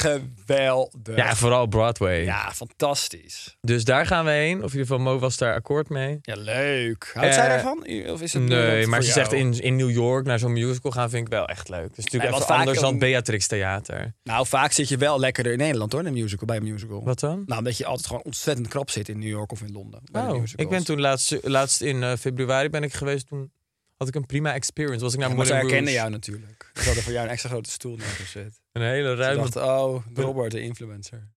S3: geweldig.
S2: Ja, vooral Broadway.
S3: Ja, fantastisch.
S2: Dus daar gaan we heen. Of in ieder geval Mo was daar akkoord mee.
S3: Ja, leuk. Houdt zij
S2: Eh,
S3: daarvan? U- Of is het
S2: Nee,
S3: dat
S2: maar
S3: voor
S2: ze
S3: jou?
S2: zegt in, in New York naar zo'n musical gaan vind ik wel echt leuk. Dat is natuurlijk
S3: Nee,
S2: even
S3: wat vaak
S2: anders dan
S3: een-
S2: het Beatrix Theater.
S3: Nou, vaak zit je wel lekkerder in Nederland hoor, in een musical, bij een musical.
S2: Wat dan?
S3: Nou, omdat je altijd gewoon ontzettend krap zit in New York of in Londen. bij de
S2: Oh,
S3: musicals.
S2: ik ben toen laatst, laatst in eh, februari ben ik geweest. Toen had ik een prima experience. Was ik naar
S3: Ja, maar zij
S2: Moulin
S3: herkenden
S2: Rouge.
S3: jou natuurlijk. Ze hadden voor jou een extra grote stoel neergezet.
S2: Een hele
S3: Ze
S2: ruime...
S3: dachten, oh, Robert, de influencer.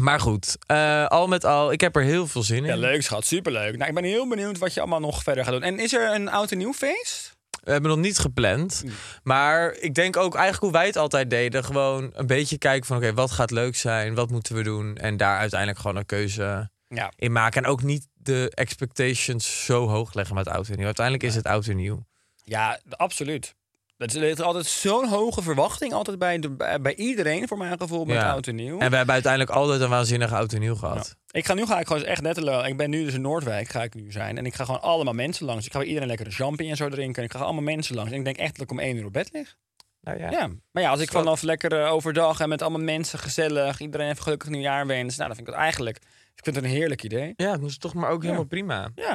S2: Maar goed, eh, al met al, ik heb er heel veel zin in.
S3: Ja, leuk schat, superleuk. Nou, ik ben heel benieuwd wat je allemaal nog verder gaat doen. En is er een oud en nieuw feest?
S2: We hebben nog niet gepland.
S3: Mm.
S2: Maar ik denk ook eigenlijk hoe wij het altijd deden. Gewoon een beetje kijken van oké, wat gaat leuk zijn? Wat moeten we doen? En daar uiteindelijk gewoon een keuze
S3: Ja.
S2: in maken. En ook niet de expectations zo hoog leggen met oud en nieuw. Uiteindelijk is het oud en nieuw.
S3: Ja, absoluut. Dat is er ligt altijd zo'n hoge verwachting altijd bij, de, bij bij iedereen, voor mijn gevoel, met
S2: Ja.
S3: oud en nieuw.
S2: En we hebben uiteindelijk altijd een waanzinnig oud en nieuw gehad.
S3: Ik ga nu ga ik gewoon echt letterlijk. Ik ben nu dus in Noordwijk, ga ik nu zijn. En ik ga gewoon allemaal mensen langs. Ik ga bij iedereen lekkere champagne en zo drinken. En ik ga allemaal mensen langs. En ik denk echt dat ik om één uur op bed lig.
S2: Nou
S3: Ja. Maar ja, als ik vanaf lekker eh, overdag en met allemaal mensen gezellig. Iedereen even gelukkig nieuwjaar wensen. Nou, dan vind ik dat eigenlijk. Ik vind het een heerlijk idee.
S2: Ja, dat is toch maar ook helemaal prima.
S3: Ja.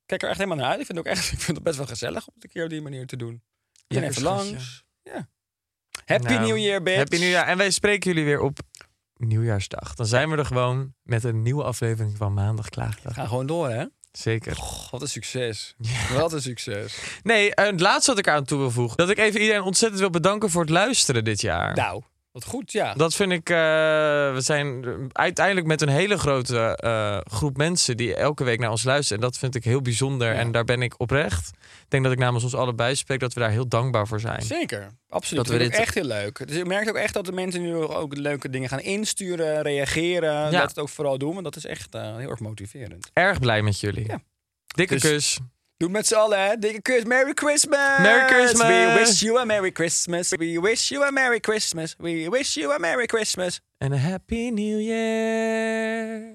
S3: Ik kijk er echt helemaal naar uit. Ik vind het ook echt. Ik vind het best wel gezellig om het een keer op die manier te doen. Ik ben
S2: Lekker
S3: even
S2: schatje.
S3: langs. Ja. Happy
S2: Nou,
S3: New Year, bitch.
S2: Happy New Year. En wij spreken jullie weer op Nieuwjaarsdag. Dan zijn we er gewoon met een nieuwe aflevering van Maandag Klaagdag.
S3: Ga gewoon door, hè?
S2: Zeker.
S3: Goh, wat een succes. Wat een succes.
S2: Nee, en het laatste wat ik aan toe wil voegen. Dat ik even iedereen ontzettend wil bedanken voor het luisteren dit jaar.
S3: Nou, wat goed, ja.
S2: Dat vind ik. eh, we zijn uiteindelijk met een hele grote eh, groep mensen die elke week naar ons luisteren. En dat vind ik heel bijzonder. En daar ben ik oprecht. Ik denk dat ik namens ons allebei spreek dat we daar heel dankbaar voor zijn.
S3: Zeker, absoluut. Dat
S2: Dat we
S3: vind ik
S2: dit-
S3: echt heel leuk. Dus je merkt ook echt dat de mensen nu ook leuke dingen gaan insturen, reageren.
S2: Ja.
S3: dat Laat het ook vooral doen, want dat is echt eh, heel erg motiverend.
S2: Erg blij met jullie.
S3: Ja.
S2: Dikke
S3: Dus-
S2: kus.
S3: Doe het met z'n allen, hè? Dikke kus. Merry Christmas!
S2: Merry Christmas!
S3: We wish you a Merry Christmas. We wish you a Merry Christmas. We wish you a Merry Christmas.
S2: En een happy new year.